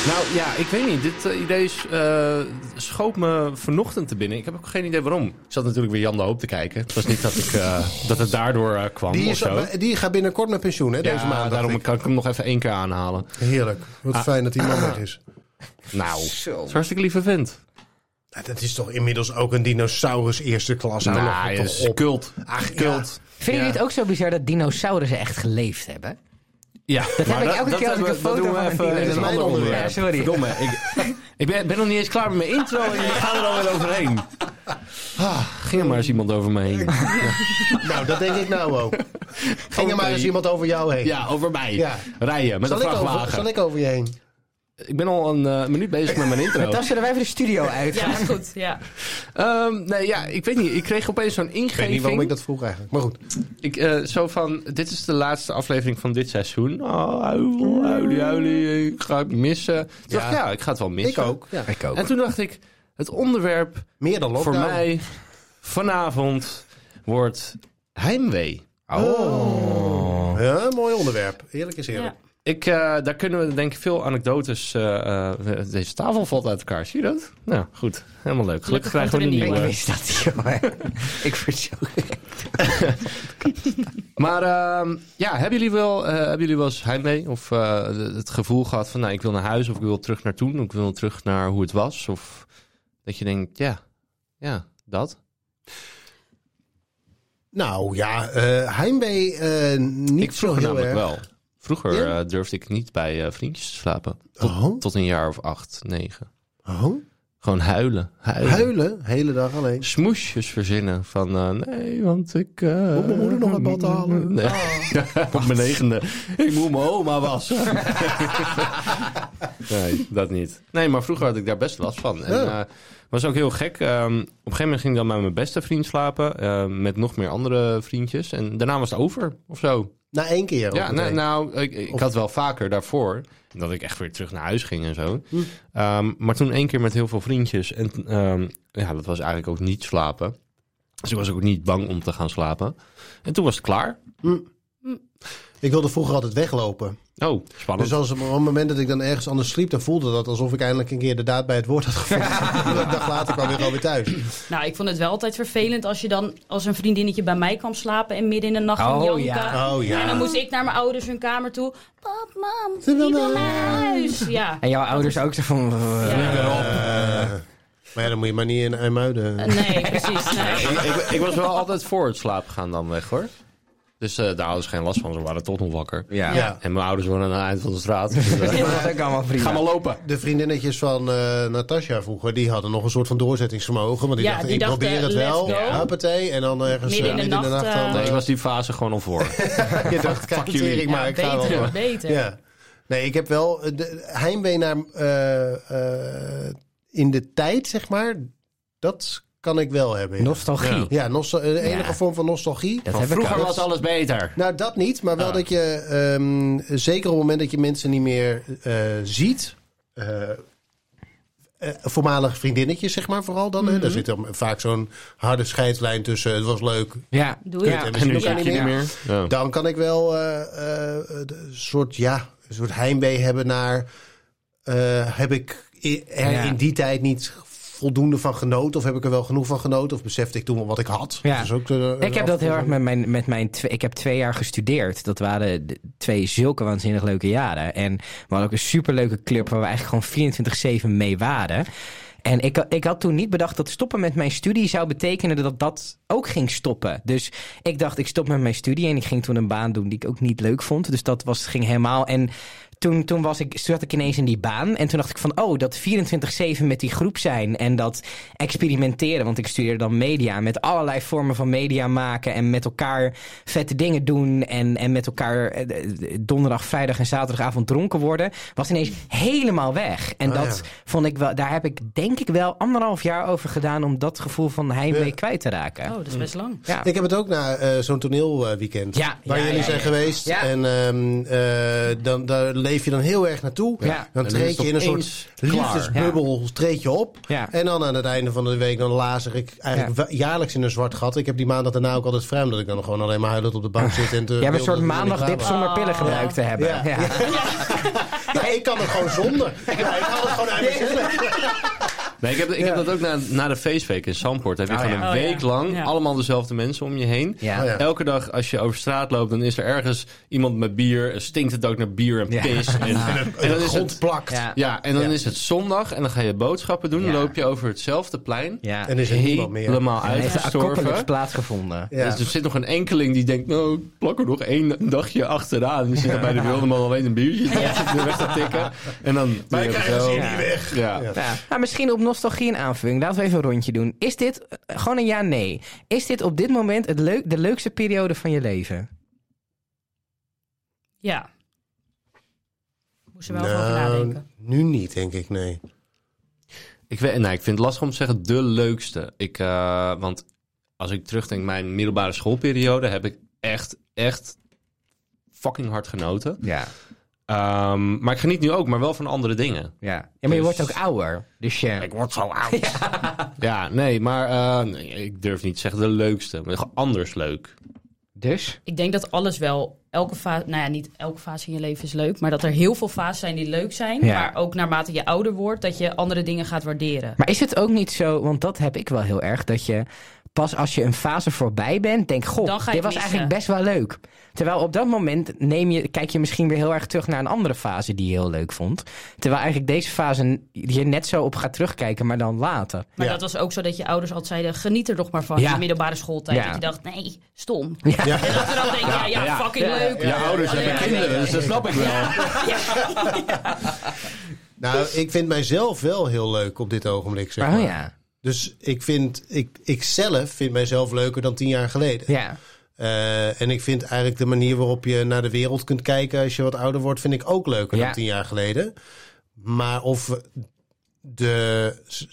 A: Nou ja, ik weet niet. Dit eh, idee is, eh, schoot me vanochtend te binnen. Ik heb ook geen idee waarom. Ik zat natuurlijk weer Jan de Hoop te kijken. Het was niet dat, ik, eh, dat het daardoor eh, kwam
B: Die,
A: of
B: is-
A: zo.
B: die gaat binnenkort met pensioen, hè, deze
A: ja,
B: maand. dacht
A: daarom
B: ik.
A: kan ik hem nog even één keer aanhalen.
B: Heerlijk. Wat fijn dat die man weg [CLEARS THROAT] is.
A: Nou, het
C: Zo.
A: is hartstikke lieve vent.
B: Nou, dat is toch inmiddels ook een dinosaurus eerste klas. Hou
A: Nou,
B: nog
A: het
B: toch
A: is
B: op.
A: cult.
B: Ach, ja.
A: Cult.
C: Vind je
A: Ja.
C: dit ook zo bizar dat dinosaurussen echt geleefd hebben?
A: Ja,
C: heb ik elke keer als ik
A: hebben-
C: een foto
A: dat doen we
C: van
A: even
C: een dier
A: in
B: zie.
A: een ander
B: Ja,
A: onderwerp.
C: sorry.
A: Verdomme, ik, [LAUGHS] ik ben, ben nog niet eens klaar met mijn intro en jullie gaan er alweer overheen. Ah, ging er maar eens iemand over me heen.
B: Nou, dat denk ik nou [LAUGHS] ook. Ging er maar
A: Oké.
B: eens iemand over jou heen.
A: Ja, over mij.
B: Ja.
A: Rijden met
B: Zal
A: een
B: ik, over,
A: vrachtwagen.
B: zal
A: Ik,
B: ik over je heen?
A: ben al een eh, minuut bezig
B: [LAUGHS]
A: met mijn intro.
C: Dan zullen wij even de studio uit.
D: Ja, is goed. Ja.
A: Ehm, nee, ja, ik weet niet. Ik kreeg opeens zo'n ingeving.
B: Ik weet niet waarom ik dat vroeg eigenlijk. Maar goed.
A: Ik, eh, zo van, dit is de laatste aflevering van dit seizoen. Oh, huil, huilie, huilie, eh, ik ga het missen. Toen
B: Mm. Ja.
A: dacht ik, ja, ik ga het wel missen.
B: Ik ook. Ja.
C: Ik ook.
A: En toen dacht ik, het onderwerp
B: Meer dan lockdown.
A: voor mij vanavond wordt heimwee.
B: Ja, mooi onderwerp. Eerlijk is eerlijk.
D: Ja.
A: Ik, eh, daar kunnen we denk ik veel anekdotes... eh, eh, deze tafel valt uit elkaar, zie je dat? Nou, goed. Helemaal leuk. Gelukkig
D: Gelukkig
A: krijgen we een
D: komt
A: nieuwe.
D: er een
C: Ik wist dat, jongen. [LAUGHS] ik verzoek.
A: Maar ehm, ja, hebben jullie wel, eh, hebben jullie wel eens heimwee? Of eh, het gevoel gehad van, nou, ik wil naar huis of ik wil terug naar toen. Of ik wil terug naar hoe het was. Of dat je denkt, ja, ja, dat.
B: Nou ja, eh heimwee eh, niet
A: ik
B: zo
A: vroeg
B: heel
A: namelijk
B: erg.
A: wel. Vroeger
B: Ja?
A: eh, durfde ik niet bij eh, vriendjes te slapen. Tot,
B: Oh.
A: tot een jaar of acht, negen.
B: Oh,
A: Gewoon huilen. Huilen.
B: huilen, hele dag alleen.
A: Smoesjes verzinnen van eh, nee, want ik. eh,
B: Moet mijn moeder nog uit bad
A: [LAUGHS]
B: halen?
A: Nee. Op mijn negende. Ik moet mijn oma wassen. [LAUGHS] nee, dat niet. Nee, maar vroeger had ik daar best last van. En
B: Ja.
A: eh, was ook heel gek. Ehm, op een gegeven moment ging ik dan met mijn beste vriend slapen. eh, met nog meer andere vriendjes. En daarna was het over of zo.
B: Na één keer. ook
A: Ja, nou,
B: meteen.
A: nou, ik, ik
B: Of-
A: had wel vaker daarvoor dat ik echt weer terug naar huis ging en zo. Ehm, maar toen één keer met heel veel vriendjes. En ehm, ja, dat was eigenlijk ook niet slapen. Dus ik was ook niet bang om te gaan slapen. En toen was het klaar.
B: Ik wilde vroeger altijd weglopen.
A: Oh, spannend.
B: Dus als op het moment dat ik dan ergens anders sliep, dan voelde dat alsof ik eindelijk een keer de daad bij het woord had
A: [LAUGHS]
B: gevonden. [LAUGHS] een dag later kwam ik alweer thuis.
D: Nou, ik vond het wel altijd vervelend als je dan als een vriendinnetje bij mij kwam slapen en midden in de nacht
C: Oh,
D: ging janken.
C: ja.
B: Oh
D: En dan
B: ja.
D: moest ik naar mijn ouders hun kamer toe. Pap, mam,
B: Ze
D: die
B: wil
D: wil
B: naar
D: naar huis. Ja.
C: En jouw ouders ook zo van...
D: Ja.
B: Eh, maar ja, dan moet je maar niet in IJmuiden.
D: Nee, precies. Nee.
A: ik, ik, ik was wel altijd voor het slapen gaan dan weg hoor. Dus eh daar hadden ze geen last van. Ze waren toch nog wakker.
C: Ja.
B: Ja.
A: En mijn ouders wonen aan het eind van de straat. Dus, eh,
C: [LAUGHS] Dat was ook allemaal prima.
A: ga maar lopen.
B: De vriendinnetjes van eh Natasja vroeger, die hadden nog een soort van doorzettingsvermogen. Want die
D: Ja,
B: dachten,
D: die
B: ik
D: dachten,
B: probeer het wel.
D: let's go.
B: Huppatee. En dan ergens
D: Midden in
B: eh,
D: de nacht,
B: dan,
D: eh,
A: Nee, ik
B: eh,
A: was die fase gewoon al voor.
B: je dacht, kijk,
A: jullie.
B: tering, maar
D: Ja,
B: ik ga wel.
D: beter, beter.
B: Ja. Nee, ik heb wel eh, de, heimwee naar eh, eh, in de tijd, zeg maar. Dat kan ik wel hebben. ja.
C: Nostalgie.
A: Ja.
B: Ja, nostal- eh, de enige
C: Ja.
B: vorm van nostalgie.
C: Dat
A: Van
C: heb ik
A: vroeger
C: ook.
A: was alles beter.
B: Nou, dat niet, maar wel
A: Ah.
B: dat je, ehm, zeker op het moment dat je mensen niet meer eh, ziet, eh, eh, voormalig vriendinnetjes, zeg maar, vooral dan. hè. Daar zit dan vaak zo'n harde scheidslijn tussen. Het was leuk.
C: Ja.
D: Doe
B: Kut, en
D: je.
B: we zien
A: nu
B: elkaar
A: zit je
B: niet meer.
A: Ja.
B: Dan kan ik wel eh, eh, een soort, ja, een soort heimwee hebben naar. eh, heb ik i- er
C: Ja.
B: in die tijd niet voldoende van genoten? Of heb ik er wel genoeg van genoten? Of besefte ik toen wel wat ik had?
C: Ja.
B: is ook, eh,
C: Ik heb dat heel erg met mijn, met mijn twee, ik heb twee jaar gestudeerd. Dat waren de- twee zulke waanzinnig leuke jaren. En we hadden ook een superleuke club waar we eigenlijk gewoon 24-7 mee waren. En ik, ha- ik had toen niet bedacht dat stoppen met mijn studie zou betekenen dat dat ook ging stoppen. Dus ik dacht, ik stop met mijn studie en ik ging toen een baan doen die ik ook niet leuk vond. Dus dat was, ging helemaal. En toen, toen, was ik, toen zat ik ineens in die baan. En toen dacht ik van, oh, dat 24-7 met die groep zijn. En dat experimenteren. Want ik studeerde dan media. Met allerlei vormen van media maken. En met elkaar vette dingen doen. En, en met elkaar eh, eh, donderdag, vrijdag en zaterdagavond dronken worden. Was ineens helemaal weg. En
B: Ah,
C: dat
B: ja.
C: vond ik wel, daar heb ik denk ik wel anderhalf jaar over gedaan. Om dat gevoel van heimwee
B: Ja.
C: kwijt te raken.
D: Oh, dat is best lang.
C: Ja.
B: Ik heb het ook na eh, zo'n toneelweekend.
C: Ja,
B: waar
C: ja,
B: jullie
C: ja,
B: zijn
C: ja.
B: geweest.
C: Ja.
B: En ehm, eh, dan, daar leef je dan heel erg naartoe.
C: Ja. En
B: Dan
A: dan is
B: treed
A: het
B: je in een soort
A: opeens
C: klaar.
B: liefdesbubbel treed je op.
C: Ja.
B: En dan aan het einde van de week dan lazer ik eigenlijk wa- jaarlijks in een zwart gat. Ik heb die maandag daarna ook altijd vrij, omdat ik dan gewoon alleen maar huilend op de bank zit. En te
C: Jij hebt een
B: wilde
C: soort
B: dat het
C: maandag
B: niet
C: dip
B: klaar was.
C: zonder pillen
D: Ah.
C: gebruikt te hebben.
B: Ja.
C: Ja.
B: Nee, ik kan het gewoon
C: [LAUGHS]
B: zonder. Ja, ik haal het gewoon uit mezelf.
A: Nee, ik heb, ik heb dat ook na, na de feestweek in Zandpoort. Heb je
C: Oh,
A: gewoon
D: ja.
A: een
D: Oh, ja.
A: week lang
D: Ja.
A: allemaal dezelfde mensen om je heen.
C: Ja.
B: Oh, ja.
A: Elke dag als je over straat loopt, dan is er ergens iemand met bier. Stinkt het ook naar bier en
C: Ja.
A: pis.
B: [LAUGHS]
A: En, en dan
B: En
A: is
B: de grond
A: het,
B: plakt.
C: Ja.
A: ja, en dan
B: Ja.
A: is het zondag en dan ga je boodschappen doen. Dan
C: Ja.
A: loop je over hetzelfde plein.
C: Ja.
B: En is er niemand meer.
A: Helemaal
C: Hij heeft de apocalypse
A: uitgestorven.
C: plaatsgevonden.
B: Ja.
A: Dus er zit nog een enkeling die denkt, nou, ik plak er nog één dagje achteraan. Die zit dan bij de wilde man alleen een biertje [LAUGHS] te- weg te tikken. En dan...
B: Maar ik krijg het hier
A: Ja.
B: niet weg.
A: Ja.
B: Ja.
C: Ja. Nou, misschien op nostalgie en aanvulling. Laten we even een rondje doen. Is dit, eh, gewoon een ja-nee. Is dit op dit moment het leuk, de leukste periode van je leven?
D: Ja. Moest er wel
B: Nou.
D: over nadenken.
B: nu niet, denk ik, nee.
A: Ik, weet, nou, ik vind het lastig om te zeggen de leukste. Ik, eh, want als ik terugdenk mijn middelbare schoolperiode... heb ik echt, echt fucking hard genoten.
C: Ja.
A: Ehm, maar ik geniet nu ook, maar wel van andere dingen.
C: Ja, maar je wordt ook ouder. Dus je...
A: Ik word zo
D: [LAUGHS]
A: oud. Ja, nee, maar eh, nee, ik durf niet te zeggen de leukste. Maar gewoon anders leuk.
C: Dus?
D: Ik denk dat alles wel, elke fase, nou ja, niet elke fase in je leven is leuk, maar dat er heel veel fases zijn die leuk zijn.
C: Ja.
D: Maar ook naarmate je ouder wordt, dat je andere dingen gaat waarderen.
C: Maar is het ook niet zo, want dat heb ik wel heel erg, dat je pas als je een fase voorbij bent, denk goh,
D: Dan ga je
C: dit was
D: het missen.
C: eigenlijk best wel leuk. Terwijl op dat moment neem je, kijk je misschien weer heel erg terug naar een andere fase die je heel leuk vond. Terwijl eigenlijk deze fase je net zo op gaat terugkijken, maar dan later.
D: Maar
B: Ja.
D: dat was ook zo dat je ouders altijd zeiden, geniet er nog maar van,
C: Ja.
D: je middelbare schooltijd.
C: Ja.
D: Dat je dacht, nee, stom.
B: Ja.
D: En dat we dan denken, ja, ja,
A: Ja.
D: fucking
C: Ja.
D: leuk.
A: Je ouders
D: Ja,
A: hebben
D: ja,
A: kinderen,
D: nee.
A: dus dat snap ik wel. [LAUGHS]
B: Nou, ik vind mijzelf wel heel leuk op dit ogenblik, zeg maar.
C: Dus- Oh ja,
B: Dus ik vind, ik, ik zelf vind mijzelf leuker dan tien jaar geleden.
C: ja.
B: Eh, en ik vind eigenlijk de manier waarop je naar de wereld kunt kijken als je wat ouder wordt, vind ik ook leuker
C: Ja.
B: dan tien jaar geleden. Maar of, de,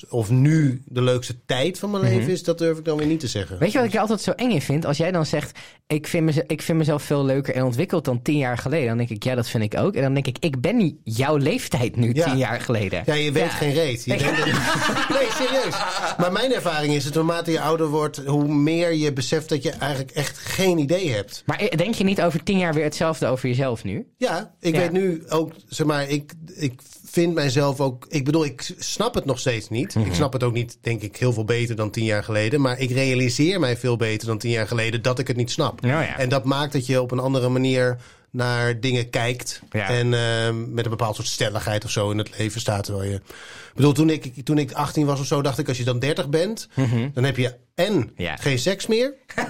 B: of nu de leukste tijd van mijn leven is, dat durf ik dan weer niet te zeggen.
C: Mhm. Weet je wat ik er altijd zo eng in vind? Als jij dan zegt, ik vind, mez- ik vind mezelf veel leuker en ontwikkeld dan tien jaar geleden. Dan denk ik, ja, dat vind ik ook. En dan denk ik, ik ben niet jouw leeftijd nu
B: Ja.
C: tien jaar geleden.
B: Ja, je weet geen reet. Je denkt dat- [LAUGHS] nee, serieus. Maar mijn ervaring is dat naarmate je ouder wordt, hoe meer je beseft dat je eigenlijk echt geen idee hebt.
C: Maar eh, denk je niet over tien jaar weer hetzelfde over jezelf [LAUGHS] nu?
B: Ja, ik
C: Ja.
B: weet nu ook, zeg maar, ik, ik vind mijzelf ook. Ik bedoel, ik snap het nog steeds niet.
C: Mhm.
B: Ik snap het ook niet, denk ik, heel veel beter dan tien jaar geleden. Maar ik realiseer mij veel beter dan tien jaar geleden dat ik het niet snap.
C: Nou ja.
B: En dat maakt dat je op een andere manier naar dingen kijkt.
C: Ja.
B: En ehm, met een bepaald soort stelligheid of zo in het leven staat. Terwijl je. Ik bedoel, toen ik, toen ik 18 was of zo, dacht ik, als je dan 30 bent, dan heb je en
C: Mhm. Ja.
B: geen seks meer.
C: [LAUGHS]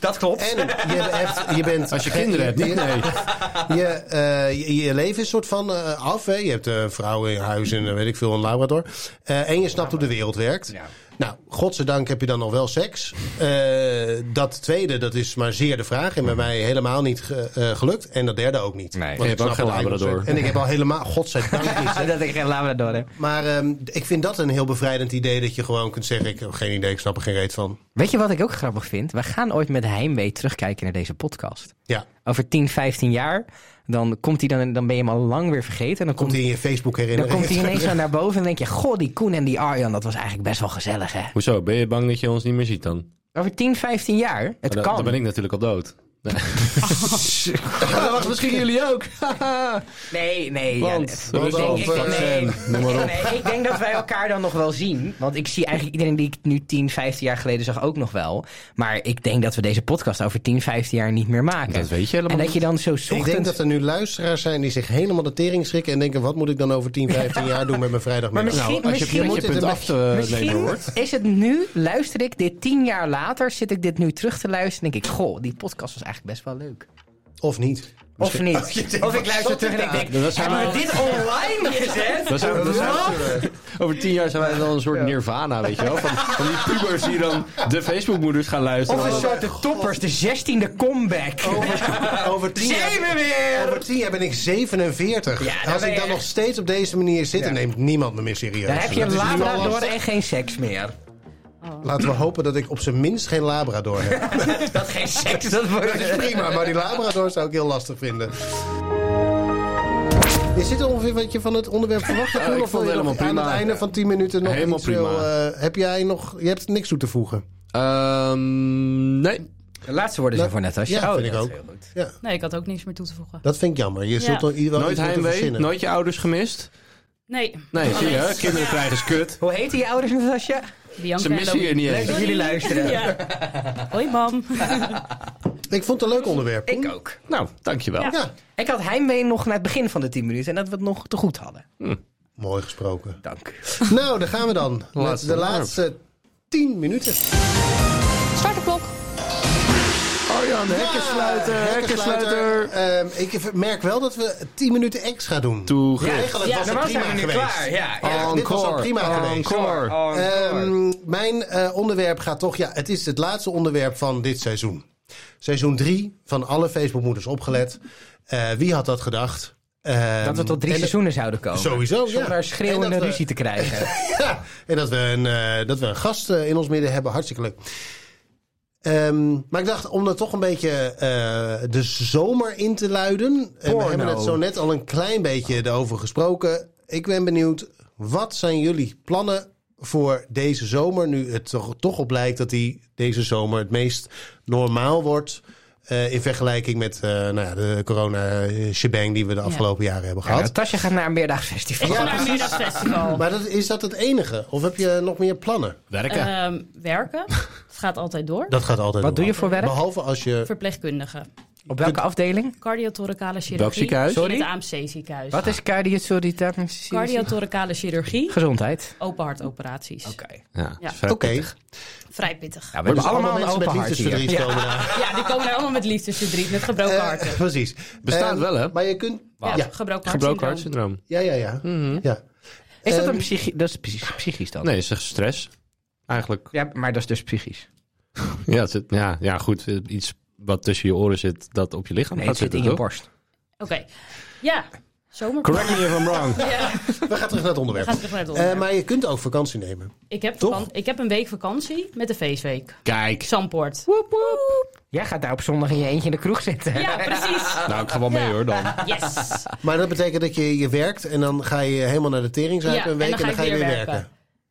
C: Dat klopt.
B: En je, hebt, je bent.
A: Als je kinderen hebt, niet? [LAUGHS] Nee.
B: Je, eh, je, je leven is een soort van eh, af. Hè? Je hebt eh, een vrouw in huis en eh, weet ik veel, een Labrador. Eh, en je snapt hoe de wereld werkt.
C: Ja.
B: Nou, godzijdank heb je dan al wel seks. Eh, dat tweede, dat is maar zeer de vraag. En bij mij helemaal niet ge- eh, gelukt. En dat derde ook niet.
C: Mhm. Nee.
B: Want
C: Je
B: ik
A: hebt ook
B: snap
A: geen
B: het eigenlijk
A: Labrador.
B: nog steeds. En ik heb al helemaal, godzijdank
A: [LAUGHS]
B: niet. hè.
C: dat ik geen labrador heb.
B: Maar ehm, ik vind dat een heel bevrijdend idee. Dat je gewoon kunt zeggen, ik heb geen idee, ik snap er geen reet van.
C: Weet je wat ik ook grappig vind? We gaan ooit met heimwee terugkijken naar deze podcast.
B: Ja,
C: Over 10, 15 jaar, dan, komt hij dan, dan ben je hem al lang weer vergeten. En dan
B: komt
C: komt,
B: hij in je Facebook
C: dan
B: herinnering.
C: komt [LAUGHS] hij ineens zo naar boven en denk je... Goh, die Koen en die Arjan, dat was eigenlijk best wel gezellig, hè?
A: Hoezo? Ben je bang dat je ons niet meer ziet dan?
C: Over 10, 15 jaar, het
A: Maar dan,
C: kan.
A: [LAUGHS] dan ben ik natuurlijk al dood. Oh, [LAUGHS] dat was misschien jullie ook.
C: Nee, nee. ja, nee.
A: Want,
B: want
A: Rusland,
B: ik-
A: vaccin, noem maar op.
C: Nee, ik denk dat wij elkaar dan nog wel zien. Want ik zie eigenlijk iedereen die ik nu 10, 15 jaar geleden zag ook nog wel. Maar ik denk dat we deze podcast over 10, 15 jaar niet meer maken.
A: Dat weet je helemaal
C: en dat je dan zo ochtends...
B: Ik denk dat er nu luisteraars zijn die zich helemaal de tering schrikken en denken: wat moet ik dan over 10, 15 jaar doen met mijn
C: Maar
B: vrijdagmiddag? Nou,
C: misschien,
A: Als je,
C: misschien,
A: je
B: moet
A: punt
B: het een
A: af te nemen
C: misschien
A: eh, hoort.
C: is het nu, luister ik dit tien jaar later, zit ik dit nu terug te luisteren en denk ik, goh, die podcast was eigenlijk best wel leuk.
B: Of
C: [LAUGHS]
B: niet?
A: [LAUGHS]
C: Of niet. Of ik luister terug en ik denk,
A: Dat zijn
C: hebben we
A: we-
C: dit online gezet?
A: Dat zijn- dat zijn-
C: Wat?
A: Over tien jaar zijn wij dan een soort nirvana, weet je wel. Van, van die pubers die dan de Facebookmoeders gaan luisteren.
C: Of een soort de toppers, de zestiende comeback.
A: Oh
B: Over 10
C: Zijn we
B: jaar.
C: weer!
B: Over 10 jaar ben ik 47.
C: Ja, dan
B: Als
C: ben
B: ik
C: je
B: dan
C: echt-
B: nog steeds op deze manier zit, dan neemt niemand me meer serieus.
C: Dan heb je
B: Dat
C: een
B: is nu al
C: labrador
B: lastig.
C: en geen seks meer. [LAUGHS]
B: Laten we hopen dat ik op zijn minst geen Labrador
C: [LAUGHS]
B: heb.
C: Dat geen seks, dat wordt...
B: Dat is prima, maar die Labrador zou ik heel lastig vinden. Is dit ongeveer wat je van het onderwerp verwacht?
A: Ja, ik
B: Of wil
A: vond het
B: je nog
A: helemaal
B: Aan
A: prima.
B: het einde van 10 minuten nog
A: Helemaal
B: iets wil,
A: prima.
B: eh, heb jij nog... Je hebt niks toe te voegen.
A: Ehm, nee.
C: De laatste woorden zijn voor net als je.
B: Ja,
C: Oh,
B: vind ik
C: dat
B: ook.
C: is heel goed.
B: Ja,
D: Nee, ik had ook niks meer toe te voegen.
B: dat vind ik jammer. Je zult
D: Ja.
B: nog ieder
A: Nooit heimwee,
B: verzinnen.
A: nooit je ouders gemist.
D: Nee.
A: Nee, zie je,
D: Alleen-
A: kinderen
D: Ja,
A: krijgen is kut.
C: Hoe heten je ouders, Natasja?
D: Bianca
A: Ze
D: en
A: missen je
D: Louis.
A: niet
C: Leuk
A: eens.
C: dat jullie luisteren.
D: Ja. Hoi, mam.
B: Ik vond het een leuk onderwerp.
C: Ik ook.
A: Nou, dankjewel.
D: Ja.
B: Ja,
C: Ik had heimwee nog naar het begin van de 10 minuten en dat we het nog te goed hadden.
B: mooi
A: [LAUGHS]
B: gesproken.
C: Dank.
B: Nou, daar gaan we dan. Met
A: Laatste
B: de
A: onderwerp.
B: laatste 10 minuten.
D: Start de klok.
A: Arjan, Oh hekkensluiter,
B: Ja,
A: hekkensluiter.
B: Ah, Ehm, ik merk wel dat we 10 minuten extra doen.
A: Toe
B: Ja,
A: gif.
B: eigenlijk
C: Ja,
B: was
C: dan
B: het
C: was
B: prima
C: hij nu
B: geweest.
C: klaar. Ja, ja.
B: Ja, dit was al
A: Encore,
B: prima geweest.
C: Oh,
A: encore.
B: Ehm, mijn eh, onderwerp gaat toch, ja, het is het laatste onderwerp van dit seizoen. Seizoen 3 van alle Facebookmoeders opgelet. Eh, wie had dat gedacht? Ehm,
C: dat we tot drie
B: en dat-
C: seizoenen zouden komen.
B: Sowieso, ja.
C: Zonder daar
B: En
C: schreeuwende
B: dat eh, we-
C: ruzie te krijgen.
B: [LAUGHS] Ja, en dat we een, eh, dat we een gast eh, in ons midden hebben. Hartstikke leuk. Ehm, maar ik dacht, om dat toch een beetje eh, de zomer in te luiden. En we
C: Porno.
B: hebben het zo net al een klein beetje erover gesproken. Ik ben benieuwd, wat zijn jullie plannen voor deze zomer? Nu het toch, toch op lijkt dat die deze zomer het meest normaal wordt. eh, in vergelijking met eh, nou ja, de corona-shebang die we de afgelopen jaren hebben
C: Ja,
B: gehad.
C: Natasja gaat naar een meerdaags festival.
D: Ja, naar een middagfestival.
B: Maar dat, is dat het enige? Of heb je nog meer plannen?
A: Werken.
D: Ehm, werken. Het gaat altijd door.
B: Dat gaat altijd
C: Wat
B: door.
C: doe je voor werk?
B: Behalve als je...
D: Verpleegkundige.
C: Op welke afdeling?
D: Cardiothoracale chirurgie.
A: Welk ziekenhuis?
D: In
C: Sorry?
D: het AMC ziekenhuis.
C: Wat is cardiothoracic?
D: Cardiothoracale chirurgie.
C: Gezondheid.
D: Open hartoperaties.
C: Oké.
A: Ja,
D: Ja.
A: vrij
B: Oké,
A: pittig.
D: Vrij pittig.
C: Ja,
B: Maar
C: we hebben
B: dus
C: allemaal een
B: mensen
C: open
B: met
C: hart hier.
B: liefdesverdriet
C: Ja.
B: komen daar.
D: Ja, die komen daar allemaal met liefdesverdriet, met gebroken [LAUGHS] harten.
B: Eh, precies.
A: Bestaat
B: Eh,
A: wel, hè?
B: Maar je kunt...
D: Ja,
B: Ja,
D: gebroken hart.
A: Gebroken hartsyndroom.
B: ja, ja. ja. ja.
C: Is dat
B: Ehm,
C: een psychisch... Dat is psychisch, psychisch dan?
A: Nee, is echt stress. Eigenlijk.
C: Ja, maar dat is dus psychisch.
A: Ja, het zit- ja, ja, goed. eh, Iets wat tussen je oren zit, dat op je lichaam
C: Nee,
A: gaat
C: het zit
A: zitten,
C: in je
A: toch?
C: borst.
D: Oké. Ja, zomer.
A: Correct me if I'm wrong.
D: [LAUGHS] Ja,
B: [LAUGHS] We gaan terug naar het
D: we
B: onderwerp.
D: gaan terug naar het
B: Eh,
D: onderwerp.
B: maar je kunt ook vakantie nemen.
D: ik, heb
B: toch?
D: vakan- ik heb een week vakantie met de feestweek.
A: Kijk.
D: Zandpoort.
C: Jij gaat daar op zondag in je eentje in de kroeg zitten. [LAUGHS]
D: Ja, precies.
A: Nou, ik ga wel mee hoor dan.
D: Yes.
B: Maar dat betekent dat je, je werkt en dan ga je helemaal naar de tering
D: Ja,
B: een week en dan ga je weer werken.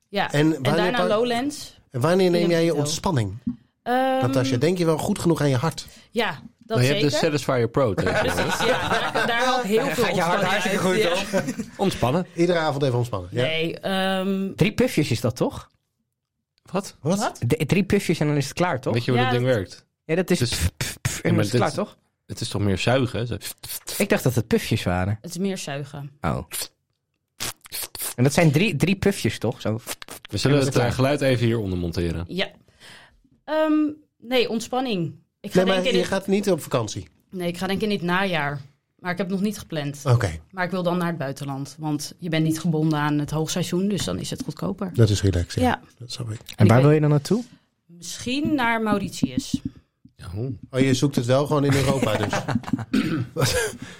D: Ja,
B: En
D: en,
B: wanneer
D: daarna
B: pak-
D: Lowlands.
B: En wanneer neem
D: In
B: jij je
D: hotel.
B: ontspanning,
D: Ehm,
B: Natasja? Denk je wel goed genoeg aan je hart?
D: Ja, dat
A: Maar Nou, je hebt
D: zeker.
A: de Satisfyer Pro tegenwoordig.
D: Precies, ja. Daar, daar haal ik heel veel
C: gaat je hart
D: ontspanning
C: hartstikke
D: uit,
C: goed
D: ja.
C: op.
A: Ontspannen.
B: Iedere avond even ontspannen. Ja.
D: Nee, ehm,
C: Drie pufjes is dat toch?
A: Wat?
B: Wat?
C: De- drie pufjes en dan is het klaar, toch?
A: Weet je hoe
D: Ja,
A: dat ding
D: dat-
A: werkt?
C: Ja, dat is...
A: Dus-
C: pff, pff, pff, en
A: Ja,
C: dan
A: maar
C: is het klaar,
A: dit-
C: toch?
A: Het is toch meer zuigen? Zo.
C: Ik dacht dat het pufjes waren.
D: het is meer zuigen.
C: Oh. En dat zijn drie, drie pufjes, toch? Zo.
A: We zullen
C: Ja,
A: het
C: dat-
A: eh, geluid even hieronder monteren.
D: Ja. Ehm, nee, ontspanning. Ik ga,
B: Nee, maar
D: denk
B: je
D: in
B: gaat niet op vakantie.
D: het, nee, ik ga denk in dit najaar. Maar ik heb het nog niet gepland.
B: Oké,
D: Maar ik wil dan naar het buitenland. Want je bent niet gebonden aan het hoogseizoen. Dus dan is het goedkoper.
B: dat is relaxed. Ja.
D: Ja,
B: Dat snap ik.
C: En waar
D: weet-
C: wil je dan naartoe?
D: misschien naar Mauritius.
A: Oh.
B: Oh, je zoekt het wel gewoon in Europa dus.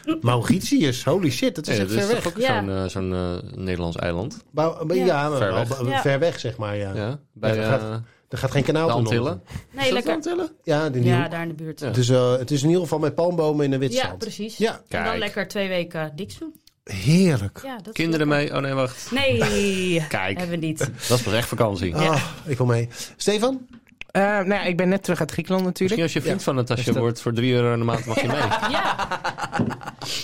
D: [LAUGHS]
B: Mauritius, holy shit, dat is
A: Nee,
B: echt
A: dat
B: ver
A: is
B: weg.
A: toch ook
D: Ja.
A: zo'n eh, zo'n eh, Nederlands eiland?
B: Maar, maar ja,
D: Ja.
B: maar
A: Ver
B: wel
A: weg.
B: b-
D: Ja.
B: ver weg zeg maar, ja.
A: Ja, bij
B: Ja,
A: eh
B: dat gaat- Er gaat geen kanaal
A: de
B: door.
A: Antillen.
D: Nee, lekker.
A: Antillen?
B: Ja, de nieuwe.
D: Ja, daar in de buurt.
A: Ja.
D: Ja,
B: het, is, eh, het is in ieder geval met palmbomen in de witstrand.
D: precies.
B: Ja.
D: En
A: Kijk.
D: dan lekker twee weken niks doen.
B: Heerlijk.
D: Ja, dat is
A: Kinderen
D: lekker.
A: mee? Oh nee, wacht.
D: Nee,
A: Kijk.
D: hebben we niet.
A: Dat is pas echt vakantie.
D: Ja.
B: Ah, ik wil mee. Stefan?
C: Eh, nou ja, ik ben net terug uit Griekenland natuurlijk.
A: Misschien als je vriend van Natasja
C: Dus dat-
A: wordt, voor 3 euro in de maand mag je mee.
D: Ja,